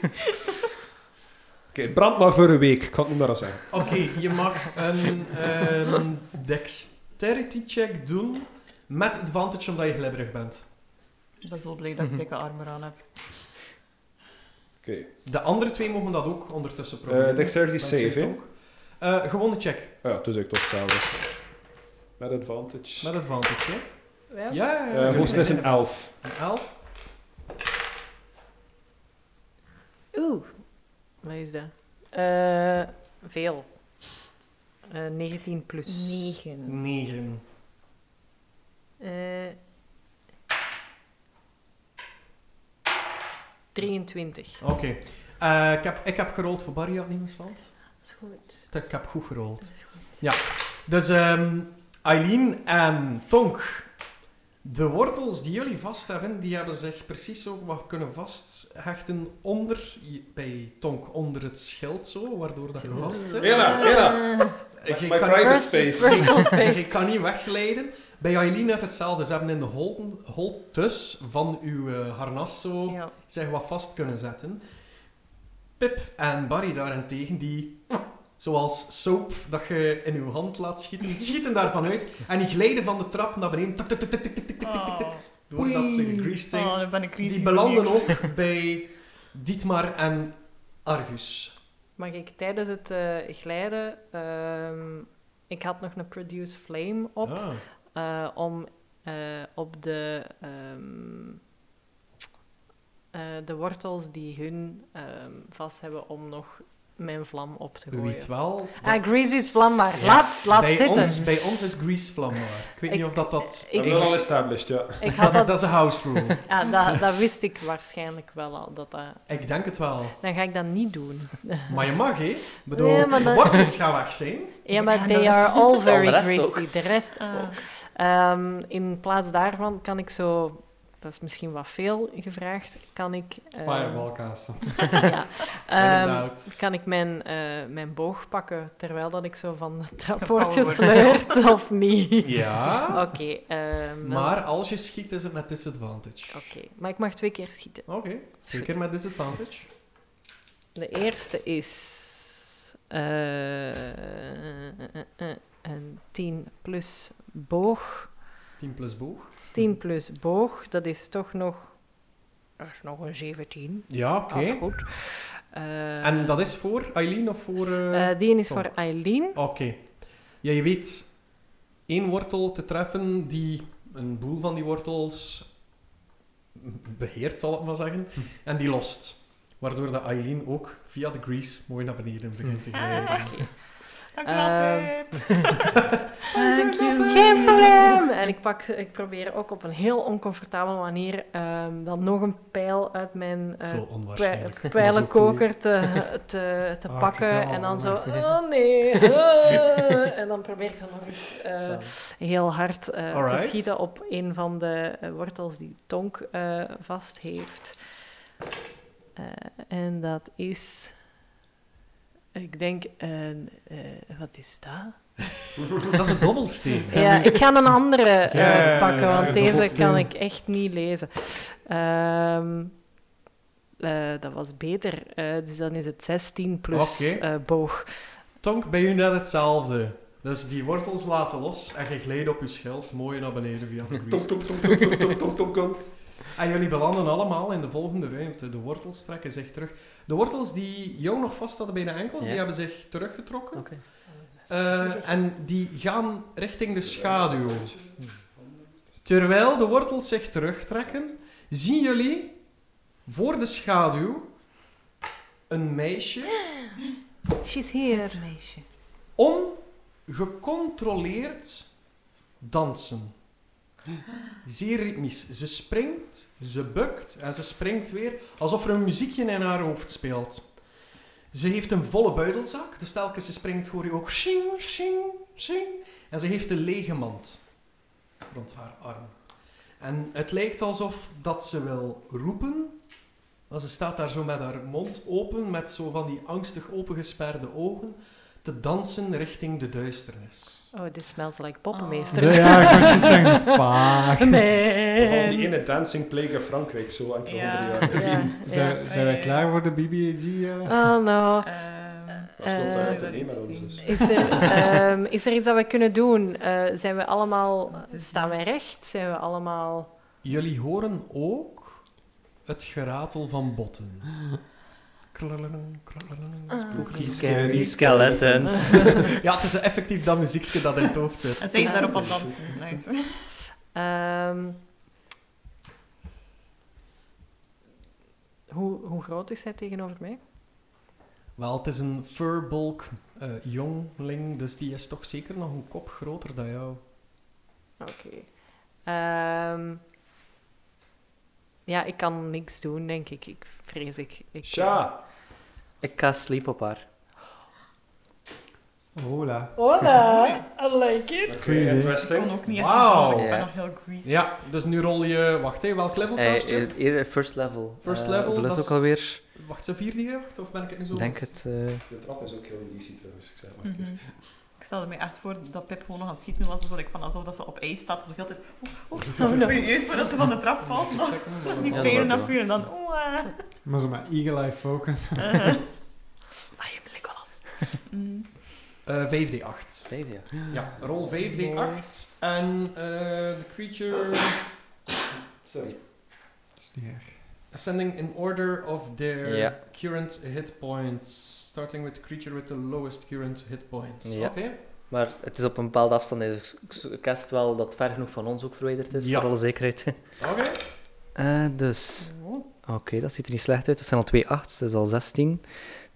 S6: Oké, brand maar voor een week, ik kan het niet meer aan zeggen.
S3: Oké, je mag een ehm, dexterity check doen met advantage omdat je glibberig bent.
S2: Ik ben zo blij dat ik dikke armen aan heb.
S6: Oké,
S3: De andere twee mogen dat ook ondertussen proberen.
S6: Eh dexterity
S3: Dankzij
S6: save, hè?
S3: Tonk. Eh, gewone check
S6: Ah Ja, het is eigenlijk toch hetzelfde. Met advantage.
S3: met advantage. hè?
S5: Wel,
S3: Ja, ja, ja.
S6: Eh, hoogste is een 11.
S3: Een elf.
S5: Oeh, wat is dat? Eh, veel. Eh 19 plus.
S2: 9.
S3: Negen.
S5: Eh, 23.
S3: Oké. Eh, ik, heb, ik heb gerold voor Barry, had niemand stand?
S5: Dat is goed.
S3: Ik heb goed gerold. Ja. Dus ehm, Eileen en Tonk. De wortels die jullie vast hebben, die hebben zich precies zo wat kunnen vasthechten onder, bij Tonk, onder het schild zo, waardoor dat je vast zit.
S6: Hela, hela!
S3: Eh, je
S6: My
S3: kan-
S6: private
S5: Personal
S6: space.
S5: space.
S3: je kan niet wegglijden. Bij Eileen net hetzelfde. Ze hebben in de holten- holtes van uw eh, harnas zo
S2: Ja.
S3: zich wat vast kunnen zetten. Pip en Barry daarentegen, die zoals soap dat je in uw hand laat schieten, schieten daarvan uit en die glijden van de trap naar beneden, tik, tik, tik, tik, tik, tik, tik, tik, tik,
S5: Ah.
S3: tik,
S2: Oh,
S3: doordat ze gegreased zijn.
S2: oh, dan ben ik greasy.
S3: Die belanden
S2: niks.
S3: ook bij Dietmar en Argus.
S5: Mag ik tijdens het eh, glijden... ehm, ik had nog een Produce Flame op.
S3: Ah.
S5: eh, om eh, op de, ehm, eh, de wortels die hun ehm, vast hebben om nog mijn vlam op te
S3: U
S5: gooien.
S3: weet wel...
S5: Ah,
S3: dat-
S5: Grease is vlambaar.
S3: Ja.
S5: Laat, laat
S3: bij
S5: zitten.
S3: Ons, bij ons is Grease vlambaar. Ik weet
S5: Ik-
S3: niet of dat dat...
S6: We
S5: ik,
S6: hebben al established, ja.
S5: ik had
S3: Dat,
S5: dat,
S3: dat is een house rule.
S5: ah, dat, dat wist ik waarschijnlijk wel al. Dat dat,
S3: Ik denk het wel.
S5: dan ga ik dat niet doen.
S3: Maar je mag, hè? Ik bedoel,
S5: Nee, maar
S3: de
S5: dat-
S3: wortels gaan weg zijn.
S5: Ja, maar
S2: Ja,
S5: they
S2: dat-
S5: are all very
S4: de rest
S5: greasy. De rest
S2: Ah.
S5: ook. Ehm, in plaats daarvan kan ik zo... Dat is misschien wat veel gevraagd. Kan ik... ehm,
S2: Eh,
S1: Fireball casten.
S5: ja. Ehm,
S3: Inderdaad.
S5: kan ik mijn, eh, mijn boog pakken terwijl dat ik zo van de trap
S2: Gevallen
S5: word
S2: wordt.
S5: gesleurd of niet?
S3: Ja.
S5: Oké, ehm, dan-
S3: Maar als je schiet, is het met disadvantage.
S5: Oké, maar ik mag twee keer schieten.
S3: Oké, zeker met disadvantage.
S5: De eerste is eh, eh, eh, eh, een 10 plus boog.
S3: 10 plus boog.
S5: 10 plus boog, dat is toch nog, dat is nog een 17.
S3: Ja, oké.
S5: Ah, goed. Eh,
S3: En dat is voor Eileen of voor... eh,
S5: eh, die is
S3: Tonk.
S5: voor Eileen.
S3: Oké. Ja, je weet één wortel te treffen die een boel van die wortels beheert, zal ik maar zeggen. En die lost. Waardoor dat Eileen ook via de grease mooi naar beneden begint te glijden.
S2: Ah, oké. Dank u wel,
S5: Ehm,
S2: Pip.
S5: Thank you. Geen probleem! En ik, pak, ik probeer ook op een heel oncomfortabele manier ehm, dan nog een pijl uit mijn eh,
S3: Zo onwaarschijnlijk.
S5: pij-
S3: Dat is ook
S5: pijlenkoker te, te, te
S1: Ah, ik zit
S5: pakken.
S1: helemaal
S5: En dan zo,
S1: onder.
S5: oh nee. eh." en dan probeer ik ze nog eens eh, heel hard eh,
S3: Alright.
S5: te schieten op een van de eh, wortels die Tonk eh, vast heeft. Eh, en dat is, ik denk, een, eh, wat is dat?
S3: Dat is een dobbelsteen.
S5: Ja, ik ga een andere eh,
S3: Ja, ja, ja,
S5: pakken,
S3: ja,
S5: want
S3: ja,
S5: deze
S3: dobbelsteen.
S5: kan ik echt niet lezen. Ehm, eh, dat was beter. Eh, dus dan is het 16 plus
S3: Oké.
S5: eh, boog.
S3: Tonk, bij u net hetzelfde. Dus die wortels laten los en je glijdt op je schild mooi naar beneden via de
S6: Tom,
S3: quiz.
S6: tom, tom, tom, tom, tom, tom, tom, tom.
S3: En jullie belanden allemaal in de volgende ruimte. De wortels trekken zich terug. De wortels die jou nog vast hadden bij de enkels,
S4: Ja.
S3: die hebben zich teruggetrokken.
S4: Oké.
S3: Eh, en die gaan richting de schaduw. Terwijl de wortels zich terugtrekken, zien jullie voor de schaduw een meisje
S5: She's here.
S2: Het meisje.
S3: ongecontroleerd dansen. Zeer ritmisch. Ze springt, ze bukt en ze springt weer alsof er een muziekje in haar hoofd speelt. Ze heeft een volle buidelzak, dus telkens ze springt hoor je ook shing, shing, shing. En ze heeft een lege mand rond haar arm. En het lijkt alsof dat ze wil roepen, maar ze staat daar zo met haar mond open, met zo van die angstig opengesperde ogen, te dansen richting de duisternis.
S5: Oh, this smells like
S1: De,
S5: poppenmeester.
S1: ja, ik wou je zeggen, vaag.
S5: Nee.
S6: Volgens die ene dancing plague in Frankrijk, zo enkele
S2: Ja.
S6: honderden jaren.
S5: Ja,
S1: Zijn,
S5: ja.
S1: zijn wij
S2: Eh.
S1: klaar voor de BBG? eh?
S5: Oh no.
S2: Ehm,
S6: Dat stond
S5: Eh,
S6: daar uit
S2: dat
S6: de
S2: is
S6: met ons.
S2: die.
S6: dus.
S5: Is er, ehm, is er iets dat we kunnen doen? Eh, zijn we allemaal...
S2: Dat is
S5: Staan wij
S2: niks.
S5: recht? Zijn we allemaal...
S3: Jullie horen ook het geratel van botten. Krullen, krullen,
S4: Spooky,
S3: krullen.
S4: scary skeletons.
S3: Ja, het is effectief dat muziekje dat in het hoofd zit.
S2: En zij is daarop aan het dansen. Nice.
S5: ehm, hoe, hoe groot is hij tegenover mij?
S3: Wel, het is een furbolk eh, jongling, dus die is toch zeker nog een kop groter dan jou.
S5: Oké. Ehm, ja, ik kan niks doen, denk ik. Ik vrees ik. ik
S6: Sja,
S4: Ik ga sleep op haar.
S1: Hola.
S5: Hola! I like it!
S6: dat vind je
S2: Ik kon
S6: interesting.
S2: ook niet echt
S3: Wauw.
S2: controleren, Ik ben
S4: Ja.
S2: nog heel greasy.
S3: Ja, dus nu rol je... Wacht, hé, welk level
S4: Eh,
S3: cast je?
S4: eh, hier, eh, first level.
S3: First
S4: Eh,
S3: level,
S4: hoeveel is
S3: dat
S4: ook
S3: is-
S4: alweer?
S3: Wacht, zijn vierde jeugd? Of ben ik het nu zo?
S4: Ik denk het. eh,
S6: De trap is ook heel DC trouwens, ik zeg maar.
S2: Mhm. Ik stelde me echt voor dat Pip gewoon nog aan het schieten was. Dus dat ik van alsof dat ze op ijs staat. Dus ik altijd... Oeh, oeh,
S5: Oh, no.
S2: Juist voordat ze van de trap valt. nog
S3: eh,
S2: Die
S4: Ja, dat
S2: peren
S4: wordt
S2: afvuren en dan... Oeh, ah.
S1: Maar zo maar eagle eye focus.
S2: Eh,
S5: I am Legolas.
S2: mm.
S3: Eh, 5d8.
S4: vijf, ja.
S3: Ja, rol 5d8 en eh, de creature
S6: Sorry.
S1: Dat is niet erg.
S3: ascending in order of their
S4: Ja.
S3: current hit points. Starting with the creature with the lowest current hit points.
S4: Ja.
S3: Oké.
S4: Maar het is op een bepaalde afstand. Dus ik s- ik cast wel dat het ver genoeg van ons ook verwijderd is.
S3: Ja.
S4: Voor alle zekerheid.
S3: Oké.
S4: Eh, dus,
S2: Oh.
S4: oké, dat ziet er niet slecht uit. Dat zijn al twee 8's, dat is al 16,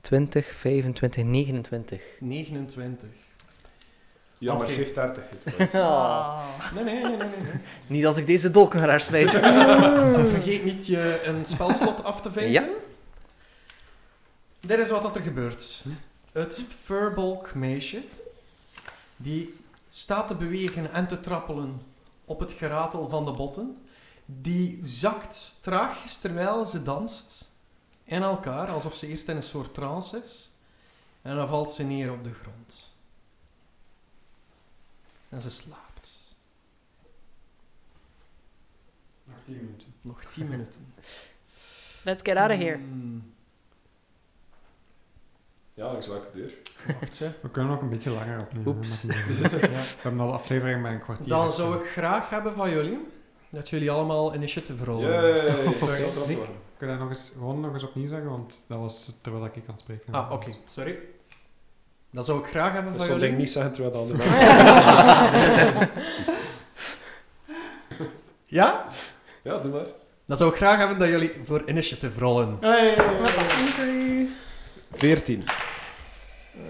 S4: 20, 25, 29.
S3: 29.
S6: Ja, maar
S3: Oké.
S6: ze heeft 30 hitpoints.
S2: Ah.
S3: Nee, nee, nee, nee. nee, nee.
S4: Niet als ik deze dolk naar haar smijt.
S3: En Vergeet niet je een spelslot af te vinken.
S4: Ja.
S3: Dit is wat dat er gebeurt. Het furbolk meisje, die staat te bewegen en te trappelen op het geratel van de botten, die zakt traagjes terwijl ze danst in elkaar, alsof ze eerst in een soort trance is. En dan valt ze neer op de grond. En ze slaapt. Nog 10 minuten.
S5: Let's get out of here.
S3: Hmm,
S6: Ja, ik zwak de deur.
S3: wacht, hè.
S1: We kunnen nog een beetje langer opnemen.
S4: Oeps.
S1: maar goed. We hebben al aflevering met een kwartier.
S3: Dan
S1: of zo.
S3: zou ik graag hebben van jullie dat jullie allemaal initiative
S6: Oh.
S3: rollen.
S6: Yay, ik
S1: Sorry.
S6: zat erop te wachten.
S1: Kun je dat nog eens, gewoon nog eens opnieuw zeggen? Want dat was terwijl ik aan het spreken
S3: Ah, oké, sorry. Dan zou ik graag hebben
S6: Dat
S3: van
S6: zal
S3: jullie.
S6: denk ik niet zeggen terwijl de andere mensen...
S3: Ja?
S6: Ja, doe maar.
S3: Dan zou ik graag hebben dat jullie voor initiative rollen.
S6: 14.
S1: Eh,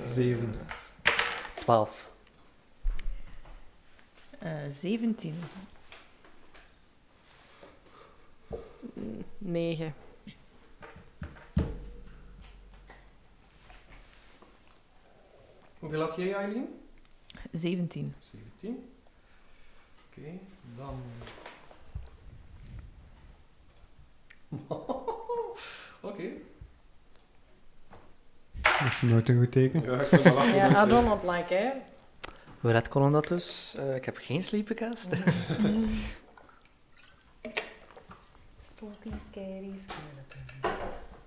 S1: Zeven.
S4: 12.
S2: Eh, 17.
S5: 9.
S3: Hoeveel had jij, Eileen?
S2: 17.
S3: 17. Oké, dan. Oké.
S1: Dat is nooit een goed teken.
S6: Ja, ik vind dat wel goed.
S5: Ja, I don't not like, hè?
S4: We red konden dat dus. Eh, ik heb geen sleepencast.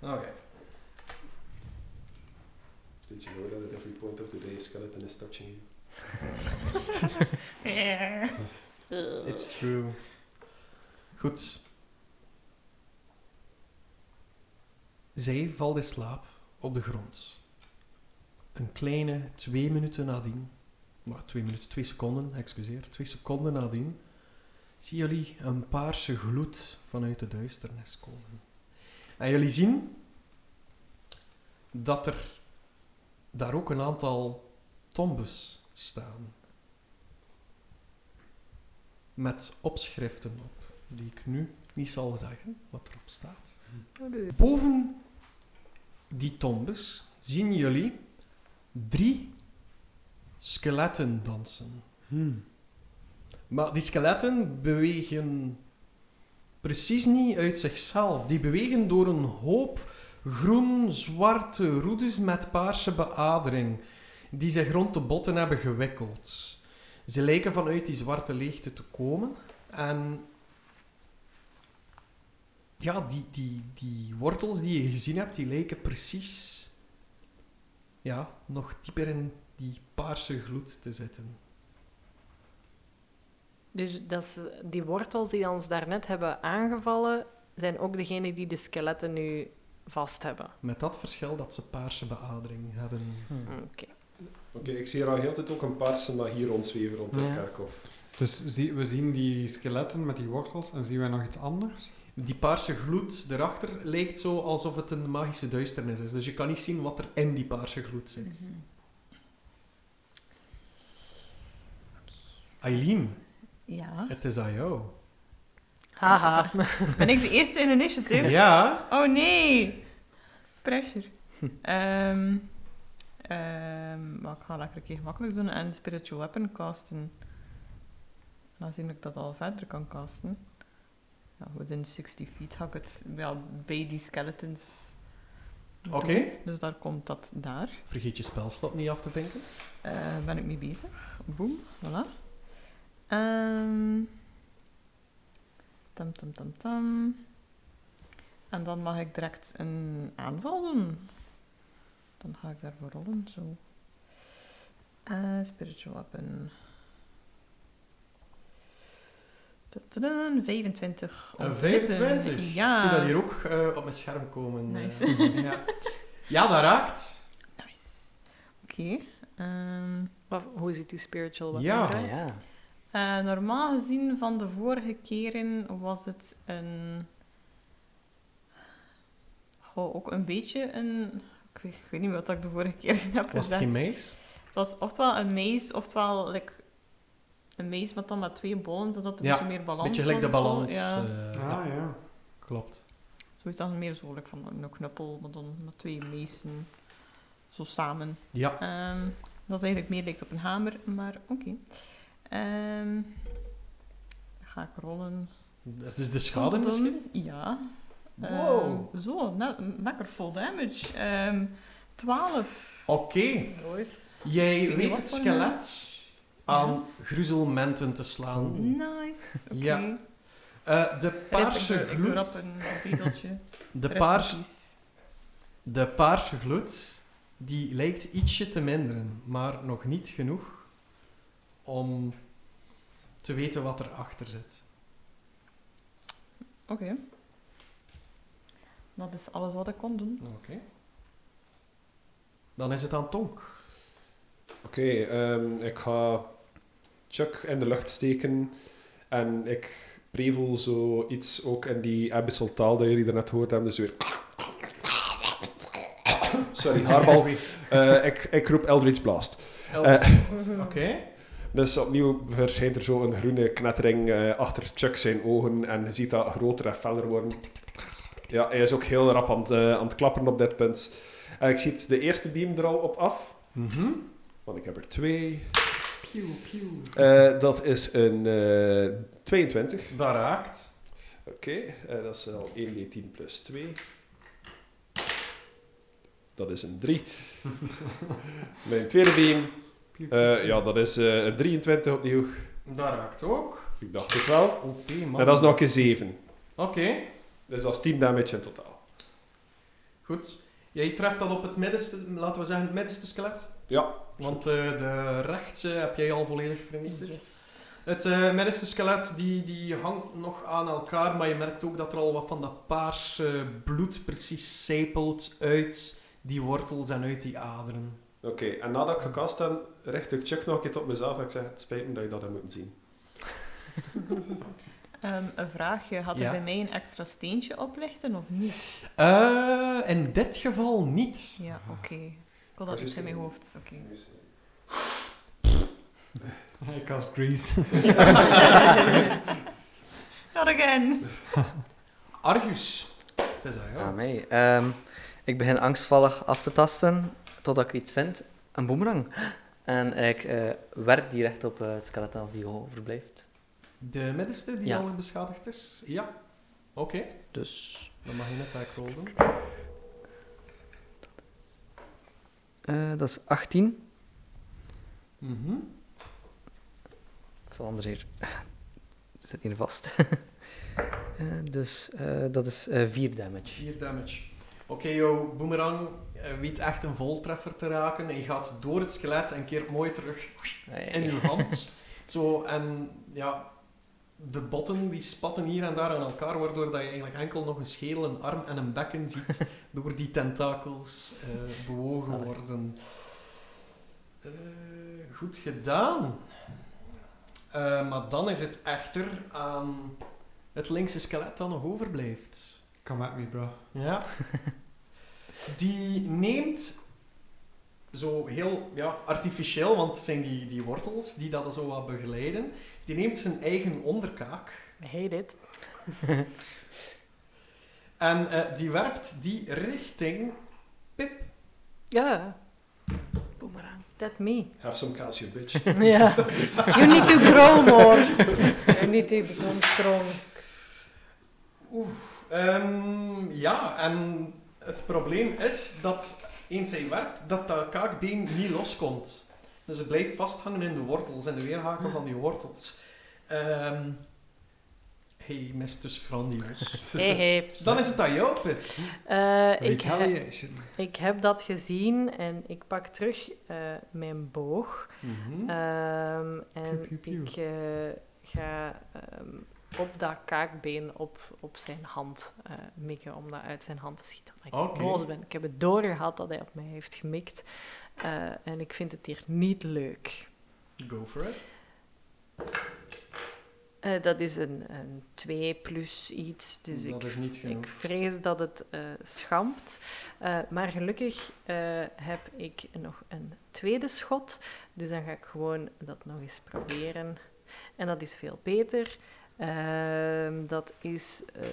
S3: Oké.
S6: Did you know that at every point of the day, skeleton is touching you?
S3: It's true. Goed. Zij valt in slaap op de grond. Een kleine twee minuten nadien, maar twee minuten, twee seconden, excuseer, twee seconden nadien, zien jullie een paarse gloed vanuit de duisternis komen. En jullie zien dat er daar ook een aantal tombes staan met opschriften op, die ik nu niet zal zeggen wat erop staat. Boven die tombes zien jullie drie skeletten dansen. Hmm. Maar die skeletten bewegen precies niet uit zichzelf. Die bewegen door een hoop groen-zwarte roedes met paarse beadering, die zich rond de botten hebben gewikkeld. Ze lijken vanuit die zwarte leegte te komen. En ja, die, die, die wortels die je gezien hebt, die lijken precies ja, nog dieper in die paarse gloed te zitten.
S8: Dus dat is, die wortels die ons daarnet hebben aangevallen, zijn ook degene die de skeletten nu vast hebben.
S3: Met dat verschil dat ze paarse beadering hebben.
S6: Oké, ik zie hier al heel de tijd ook een paarse magie rondzweven rond het
S4: Ja.
S6: kerkhof.
S1: Dus zie- we zien die skeletten met die wortels en zien wij nog iets anders?
S3: Die paarse gloed daarachter lijkt zo alsof het een magische duisternis is. Dus je kan niet zien wat er in die paarse gloed zit.
S5: Mhm.
S3: Eileen,
S5: Ja.
S3: het is aan jou.
S8: Haha.
S5: Ben ik de eerste in initiative?
S3: Ja,
S5: Oh nee! Pressure. Ehm ehm, maar ik ga lekker een keer gemakkelijk doen en Spiritual Weapon casten. En aangezien ik dat al verder kan casten. Ja, within 60 feet ga ik het ja, bij die skeletons.
S3: oké.
S5: doen. Dus daar komt dat daar.
S3: Vergeet je spelslot niet af te vinken.
S5: Eh, ben ik mee bezig. Boom, voilà. Ehm tam tam tam tam. En dan mag ik direct een aanval doen. Dan ga ik daarvoor rollen, zo. Eh, spiritual weapon. Tadadam, 25. om
S3: Een
S5: te hitten.
S3: 25.
S5: Ja.
S3: Ik zie dat hier ook eh, op mijn scherm komen.
S5: Ah. Nice.
S3: Eh, ja. ja, dat raakt.
S5: Nice. Oké. Ehm
S8: Wat- Hoe ziet uw spiritual weapon
S3: Ja.
S8: eruit?
S4: Ah, ja.
S5: Eh, normaal gezien van de vorige keren was het een. Goh, ook een beetje een. Ik weet, ik weet niet wat ik de vorige keer heb
S3: Was het
S5: gezegd.
S3: geen meis?
S5: Het was oftewel een maze, oftewel like, een maze, maar dan met twee bollen, zodat er
S3: Ja,
S5: een beetje meer balans
S3: Beetje gelijk de
S5: was of zo.
S3: balans.
S5: Ja.
S3: eh,
S1: Ah, ja.
S3: Klopt.
S5: Zo is dat meer zo, like, van een knuppel, maar dan met twee meesten. Zo samen.
S3: Ja,
S5: Ehm, dat eigenlijk meer lijkt op een hamer, maar oké. Ehm, ga ik rollen.
S3: dat is dus de schade
S5: Dan-
S3: misschien?
S5: Ja. Ehm,
S3: Wow.
S5: zo, na- lekker vol damage. Ehm 12.
S3: Oké.
S5: Nice. Ik
S3: Jij
S5: weet
S3: weet
S5: wat
S3: het
S5: voor
S3: skelet aan gruzelmenten te slaan.
S5: Nice. Oké.
S3: Ja. Eh, de paarse
S5: Ik doe rap
S3: gloed...
S5: een riedeltje.
S3: De
S5: Rest
S3: paarse
S5: in peace.
S3: De paarse gloed, die lijkt ietsje te minderen, maar nog niet genoeg om te weten wat erachter zit.
S5: Oké. Dat is alles wat ik kon doen.
S3: Dan is het aan Tonk.
S6: Oké, ehm, ik ga Chuck in de lucht steken en ik prevel zo iets ook in die abyssal taal dat jullie daarnet gehoord hebben, dus weer... Sorry, haarbal. Eh, ik, ik roep Eldritch Blast.
S3: Oké.
S6: Dus opnieuw verschijnt er zo een groene knettering eh, achter Chuck zijn ogen en je ziet dat groter en feller worden. Ja, hij is ook heel rap aan het, eh, aan het klapperen op dit punt. En ik zie de eerste beam er al op af,
S3: Mhm.
S6: want ik heb er twee.
S1: Pew, pew.
S6: Eh, dat is een eh, 22.
S3: Dat raakt.
S6: Oké, eh, dat is al 1d10 plus 2. Dat is een 3. Mijn tweede beam,
S1: pew.
S6: eh, ja, dat is eh, een 23 opnieuw.
S3: Dat raakt ook.
S6: Ik dacht het wel.
S3: Oké, man.
S6: En dat is nog een 7.
S3: Oké,
S6: Dus dat is 10 damage in totaal.
S3: goed. Jij treft dat op het middenste, laten we zeggen, het middenste skelet.
S6: Ja.
S3: Want eh, de rechtse heb jij al volledig vernietigd.
S2: Yes.
S3: Het eh, middenste skelet die, die hangt nog aan elkaar, maar je merkt ook dat er al wat van dat paarse bloed precies sepelt uit die wortels en uit die aderen.
S6: Oké, en nadat ik gekast heb, richt ik Chuck nog een keer op mezelf en ik zeg, het spijt me dat je dat hebt moeten zien.
S2: Ehm, een vraagje. Had
S3: Ja.
S2: er bij mij een extra steentje oplichten of niet?
S3: Eh, in dit geval niet.
S2: Ja, oké. Ik had
S6: Dat
S2: dat
S6: is
S2: iets in mijn
S6: goed.
S2: hoofd. Oké.
S1: Ik als Grease.
S2: Not again.
S3: Argus. Het is dat, ja.
S4: Aan mij. Ehm, ik begin angstvallig af te tasten totdat ik iets vind. Een boemerang. En ik eh, werp die recht op eh, het skelet af die overblijft.
S3: De middenste die
S4: Ja.
S3: al beschadigd is? Ja. Oké,
S4: Dus...
S3: dan mag je net eigenlijk rollen.
S4: eh, dat is 18.
S3: Mhm.
S4: Ik zal anders hier... Zit hier vast. Eh, dus eh, dat is 4 damage.
S3: 4 damage. Oké, jouw boomerang eh, weet echt een voltreffer te raken. En je gaat door het skelet en keert mooi terug
S4: Hey.
S3: in uw hand. Zo, en ja, de botten die spatten hier en daar aan elkaar, waardoor dat je eigenlijk enkel nog een schedel, een arm en een bekken ziet door die tentakels eh, bewogen
S4: Allee.
S3: worden. Eh, goed gedaan. Eh, maar dan is het echter aan het linkse skelet dat nog overblijft.
S1: Come at me, bro.
S3: Ja. Die neemt zo heel ja, artificieel, want het zijn die, die wortels die dat zo wat begeleiden. Die neemt zijn eigen onderkaak
S5: I hate it.
S3: en eh, die werpt die richting Pip.
S5: Ja. Boomerang. That me.
S6: Have some calcium, bitch.
S5: Ja. You need to grow more. You need to become strong.
S3: Ehm, ja, en het probleem is dat eens hij werpt, dat dat kaakbeen niet loskomt. Dus het blijft vasthangen in de wortels, en de weerhaken van die wortels. Ehm hij mist dus grandioos.
S5: Hey, hey.
S3: Dan is het aan jou, Pip.
S5: Eh, ik, he-
S1: Retaliation.
S5: ik heb dat gezien en ik pak terug eh, mijn boog.
S3: Mhm.
S5: Ehm, en
S1: Pew, pew, pew.
S5: ik eh, ga ehm, op dat kaakbeen op, op zijn hand eh, mikken om dat uit zijn hand te schieten. Omdat ik
S3: Oké.
S5: boos ben. Ik heb het doorgehad dat hij op mij heeft gemikt. Eh, en ik vind het hier niet leuk.
S3: Go for it.
S5: Eh, dat is een, een 2 plus iets. Dus
S3: dat
S5: ik
S3: is niet genoeg.
S5: Ik vrees dat het eh, schampt. Eh, maar gelukkig eh, heb ik nog een tweede schot. Dus dan ga ik gewoon dat nog eens proberen. En dat is veel beter. Ehm, dat is eh,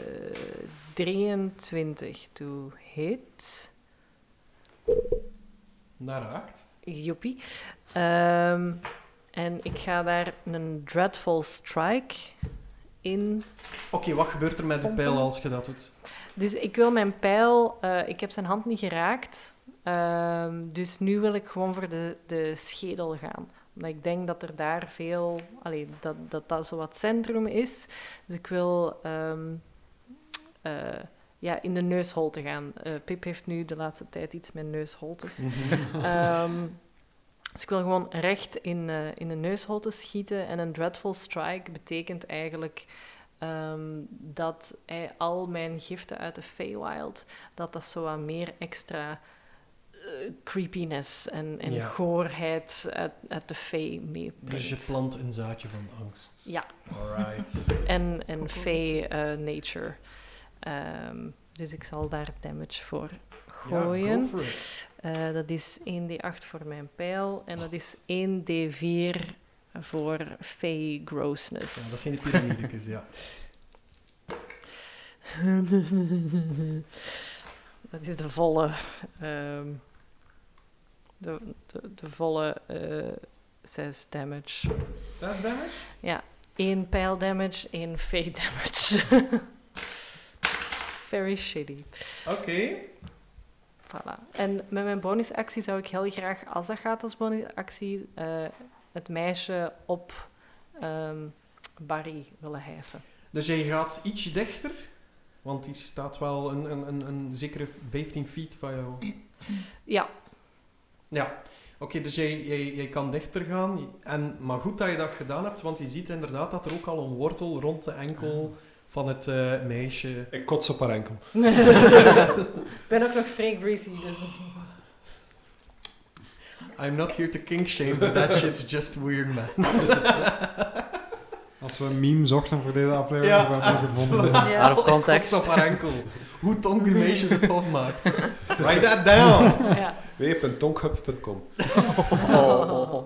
S5: 23 to hit.
S3: Dat raakt.
S5: Joepie. Ehm, en ik ga daar een Dreadful Strike in
S3: Oké, wat gebeurt er met de pijl als je dat doet?
S5: Dus ik wil mijn pijl, eh, ik heb zijn hand niet geraakt. Ehm, dus nu wil ik gewoon voor de, de schedel gaan. Omdat ik denk dat er daar veel, allee, dat, dat dat zo wat centrum is. Dus ik wil ehm, eh, ja, in de neusholte gaan. Eh, Pip heeft nu de laatste tijd iets met neusholtes.
S3: Mhm.
S5: Ehm, dus ik wil gewoon recht in, eh, in de neusholte schieten. En een dreadful strike betekent eigenlijk ehm, dat hij al mijn giften uit de Feywild, dat dat zo wat meer extra eh, creepiness en, en
S3: Ja.
S5: goorheid uit, uit de Fey meebrengt.
S3: Dus je plant een zaadje van angst.
S5: Ja.
S3: Alright.
S5: En, en Fey eh, nature. Ehm, dus ik zal daar damage voor gooien.
S3: Ja, go for it.
S5: Eh, dat is 1d8 voor mijn pijl en dat is 1d4 voor fey
S3: Ja, dat
S5: grossness.
S3: zijn de piramidekes, ja.
S5: dat is de volle, ehm, de, de, de volle 6 damage.
S3: Zes damage?
S5: 1 pijl damage, 1 fey damage. Very shitty.
S3: Oké.
S5: Voilà. En met mijn bonusactie zou ik heel graag, als dat gaat als bonusactie, eh, het meisje op ehm, Barry willen hijsen.
S3: Dus jij gaat ietsje dichter Want die staat wel een, een, een, een zekere 15 feet van jou.
S5: Ja.
S3: Ja. Oké, dus jij, jij, jij kan dichter gaan. En, maar goed dat je dat gedaan hebt, want je ziet inderdaad dat er ook al een wortel rond de enkel van het eh, meisje...
S6: Ik kots op haar enkel.
S5: Ik ben ook nog Frank Breezy, dus...
S3: I'm not here to kink shame, but that shit's just weird, man.
S1: Als we een meme zochten voor deze aflevering,
S3: Ja.
S1: hebben we hem gevonden.
S5: Ja.
S4: Out
S3: Ik
S4: of
S3: kots
S4: context.
S3: op haar enkel. Hoe donkere meisjes het afmaakt. Write that down.
S5: ja.
S6: www.tonkhub.com
S4: Oh, oh, oh.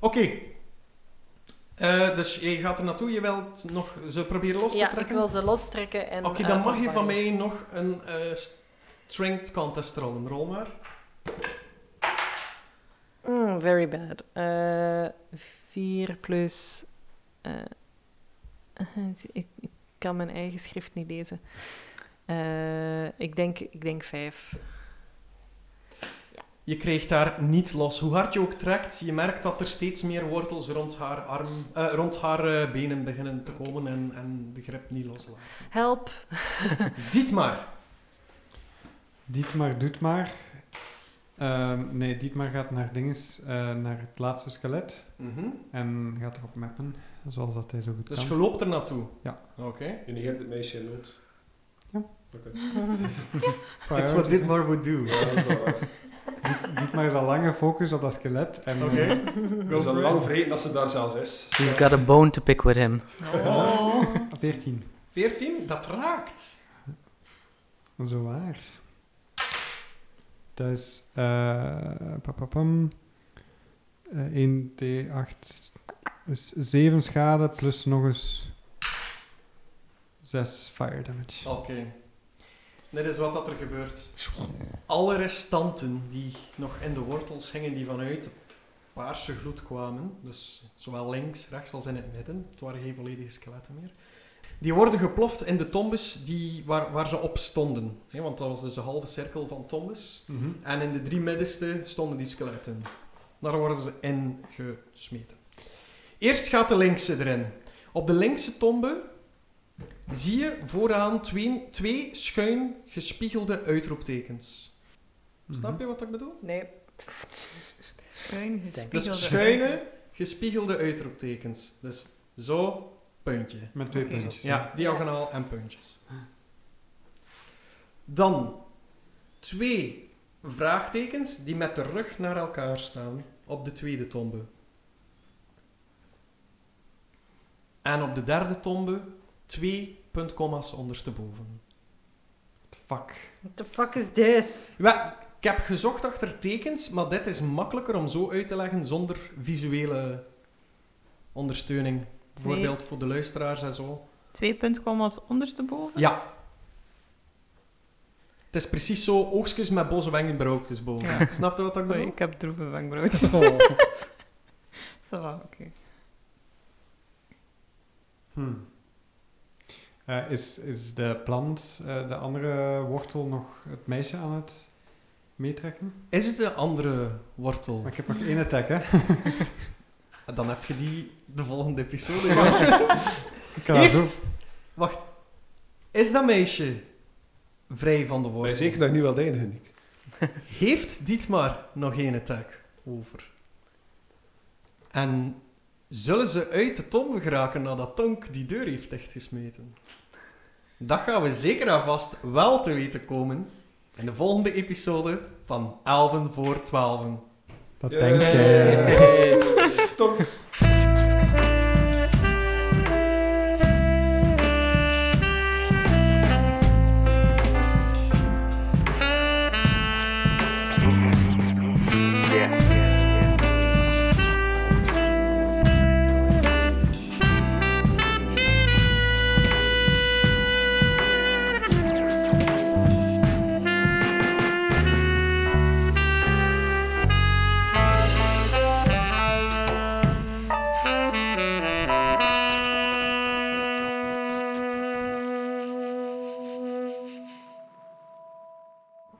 S3: Oké. Eh, dus je gaat er naartoe, je wilt nog ze proberen los
S5: Ja,
S3: te
S5: ik
S3: trekken?
S5: wil ze lostrekken en...
S3: Oké,
S5: eh,
S3: dan mag je
S5: opvangen.
S3: van mij nog een eh, strength contest rollen. Rol maar.
S5: Mm, very bad. Eh 4 plus... eh, ik, ik kan mijn eigen schrift niet lezen. Eh, ik denk 5. Ik denk vijf.
S3: Je krijgt haar niet los. Hoe hard je ook trekt, je merkt dat er steeds meer wortels rond haar, arm, eh, rond haar eh, benen beginnen te komen en, en de grip niet loslaten.
S5: Help.
S3: Dietmar.
S1: Dietmar doet maar. Ehm, nee, Dietmar gaat naar dinges, eh, naar het laatste skelet.
S3: Mhm.
S1: En gaat erop mappen, zoals dat hij zo goed
S3: Dus je
S1: kan.
S3: loopt er naartoe?
S1: Ja.
S3: Oké.
S6: Je negeert het meisje in nood.
S1: Ja.
S6: Oké.
S3: It's what
S1: Dietmar...
S3: Dietmar would do.
S6: Ja, dat is wel waar.
S1: Dietmar is al lang gefocust op dat skelet. En
S3: Oké.
S1: eh,
S6: We zijn lang vergeten dat ze daar zelfs is.
S4: She's got a bone to pick with him.
S2: Oh.
S1: eh, 14.
S3: 14, dat raakt.
S1: Zo waar. Dat is eh papapam. Eh, 1d8 is 7 Dus schade plus nog eens 6 fire damage.
S3: Oké. Dit is wat dat er gebeurt. Alle restanten die nog in de wortels hingen, die vanuit de paarse gloed kwamen, dus zowel links, rechts als in het midden, het waren geen volledige skeletten meer, die worden geploft in de tombes die, waar, waar ze op stonden. Hè, want dat was dus een halve cirkel van tombes.
S1: Mhm.
S3: En in de drie middenste stonden die skeletten. Daar worden ze in gesmeten. Eerst gaat de linkse erin. Op de linkse tombe zie je vooraan twee, twee schuin gespiegelde uitroeptekens.
S1: Mhm.
S3: Snap je wat ik bedoel?
S5: Nee.
S2: Schuin gespiegelde.
S3: Dus schuine gespiegelde uitroeptekens. Dus zo, puntje.
S1: Met twee
S2: Oké.
S1: puntjes.
S3: Ja, diagonaal en puntjes. Dan twee vraagtekens die met de rug naar elkaar staan op de tweede tombe. En op de derde tombe twee puntkomma's ondersteboven.
S1: Fuck.
S5: What the fuck is this?
S3: Wel, ik heb gezocht achter tekens, maar dit is makkelijker om zo uit te leggen zonder visuele ondersteuning. Bijvoorbeeld voor de luisteraars en zo.
S2: Twee puntkomma's ondersteboven.
S3: Ja. Het is precies zo, oogstjes met boze wengen, broekjes boven.
S2: Ja.
S3: Snap je wat ik
S2: Oei,
S3: bedoel?
S2: ik heb droeve wenkbrauwtjes. Zo, oké.
S1: Hm.
S3: Hmm.
S1: Eh, is, is de plant, eh, de andere wortel, nog het meisje aan het meetrekken?
S3: Is het de andere wortel?
S1: Maar ik heb nog één attack, hè?
S3: Dan heb je die de volgende episode. gehad.
S1: Ik kan dat zo-
S3: Heeft... Wacht. Is dat meisje vrij van de
S6: Maar
S3: wortel?
S6: Oh, zeker dat je nu wel de enige niet.
S3: Heeft Dietmar nog geen attack over? En zullen ze uit de tombe geraken nadat Tonk die deur heeft dichtgesmeten? Dat gaan we zeker en vast wel te weten komen in de volgende episode van Elven voor Twaalfen.
S1: Dat
S6: Ja.
S1: denk je.
S6: Tonk.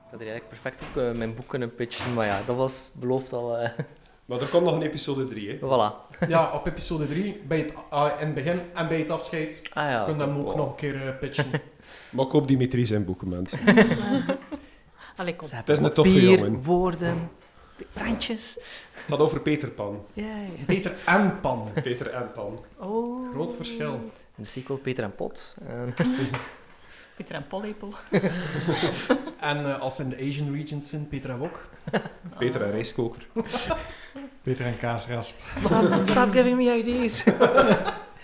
S4: Ik had hier eigenlijk perfect ook eh, mijn boek kunnen pitchen, maar ja, dat was beloofd al. eh,
S6: Maar er komt nog een episode 3, hè?
S4: Voilà.
S3: Ja, op episode 3, bij het, ah, in het begin en bij het afscheid,
S4: Ah ja.
S3: kunnen we hem ook
S6: wow.
S3: nog een keer eh, pitchen.
S6: Maar koop Dimitri zijn boeken, mensen.
S5: Allee, kom.
S4: Ze
S6: Het is
S4: hebben
S6: een toffe
S4: papier,
S6: jongen.
S4: woorden, brandjes.
S6: Het gaat over Peter Pan.
S4: Yay.
S3: Peter en Pan.
S6: Peter en Pan.
S5: Oh.
S3: Groot verschil.
S4: Een sequel, Peter en Pot. En-
S2: Peter en Pollepel.
S3: En eh, als ze in de Asian regions zijn, Peter en Wok.
S6: Peter
S5: Ah.
S6: en Rijskoker.
S1: Peter en Kaasrasp.
S4: Stop, stop giving me ideas.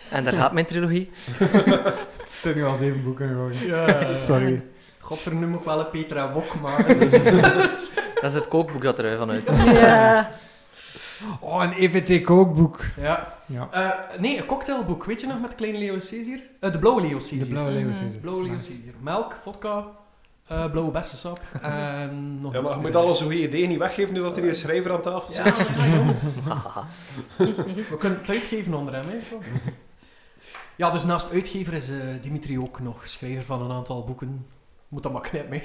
S4: en daar gaat mijn trilogie.
S1: Het zijn nu al zeven boeken geworden.
S3: Ja.
S1: Sorry.
S3: Godvernoem ook wel een Peter en Wok, maar...
S4: Dat is het kookboek dat er vanuit komt.
S5: Ja.
S1: Oh, een EVT kookboek.
S3: Ja.
S1: Ja.
S3: Eh, nee, een cocktailboek. Weet je nog met kleine Leo Caesar? Eh, de blauwe Leo Caesar.
S1: De blauwe leeuw
S6: eh,
S1: is
S3: De blauwe Leo Caesar. Melk, vodka, eh, blauwe bessensap en nog
S6: Ja,
S3: iets
S6: maar je moet
S3: erin.
S6: al onze goede ideeën niet weggeven nu dat er een schrijver aan tafel
S3: Ja,
S6: zit.
S3: ja, jongens.
S4: Hahaha.
S3: We kunnen het uitgeven onder hem, hè. Ja, dus naast uitgever is eh, Dimitri ook nog schrijver van een aantal boeken. Moet dat maar knip mee.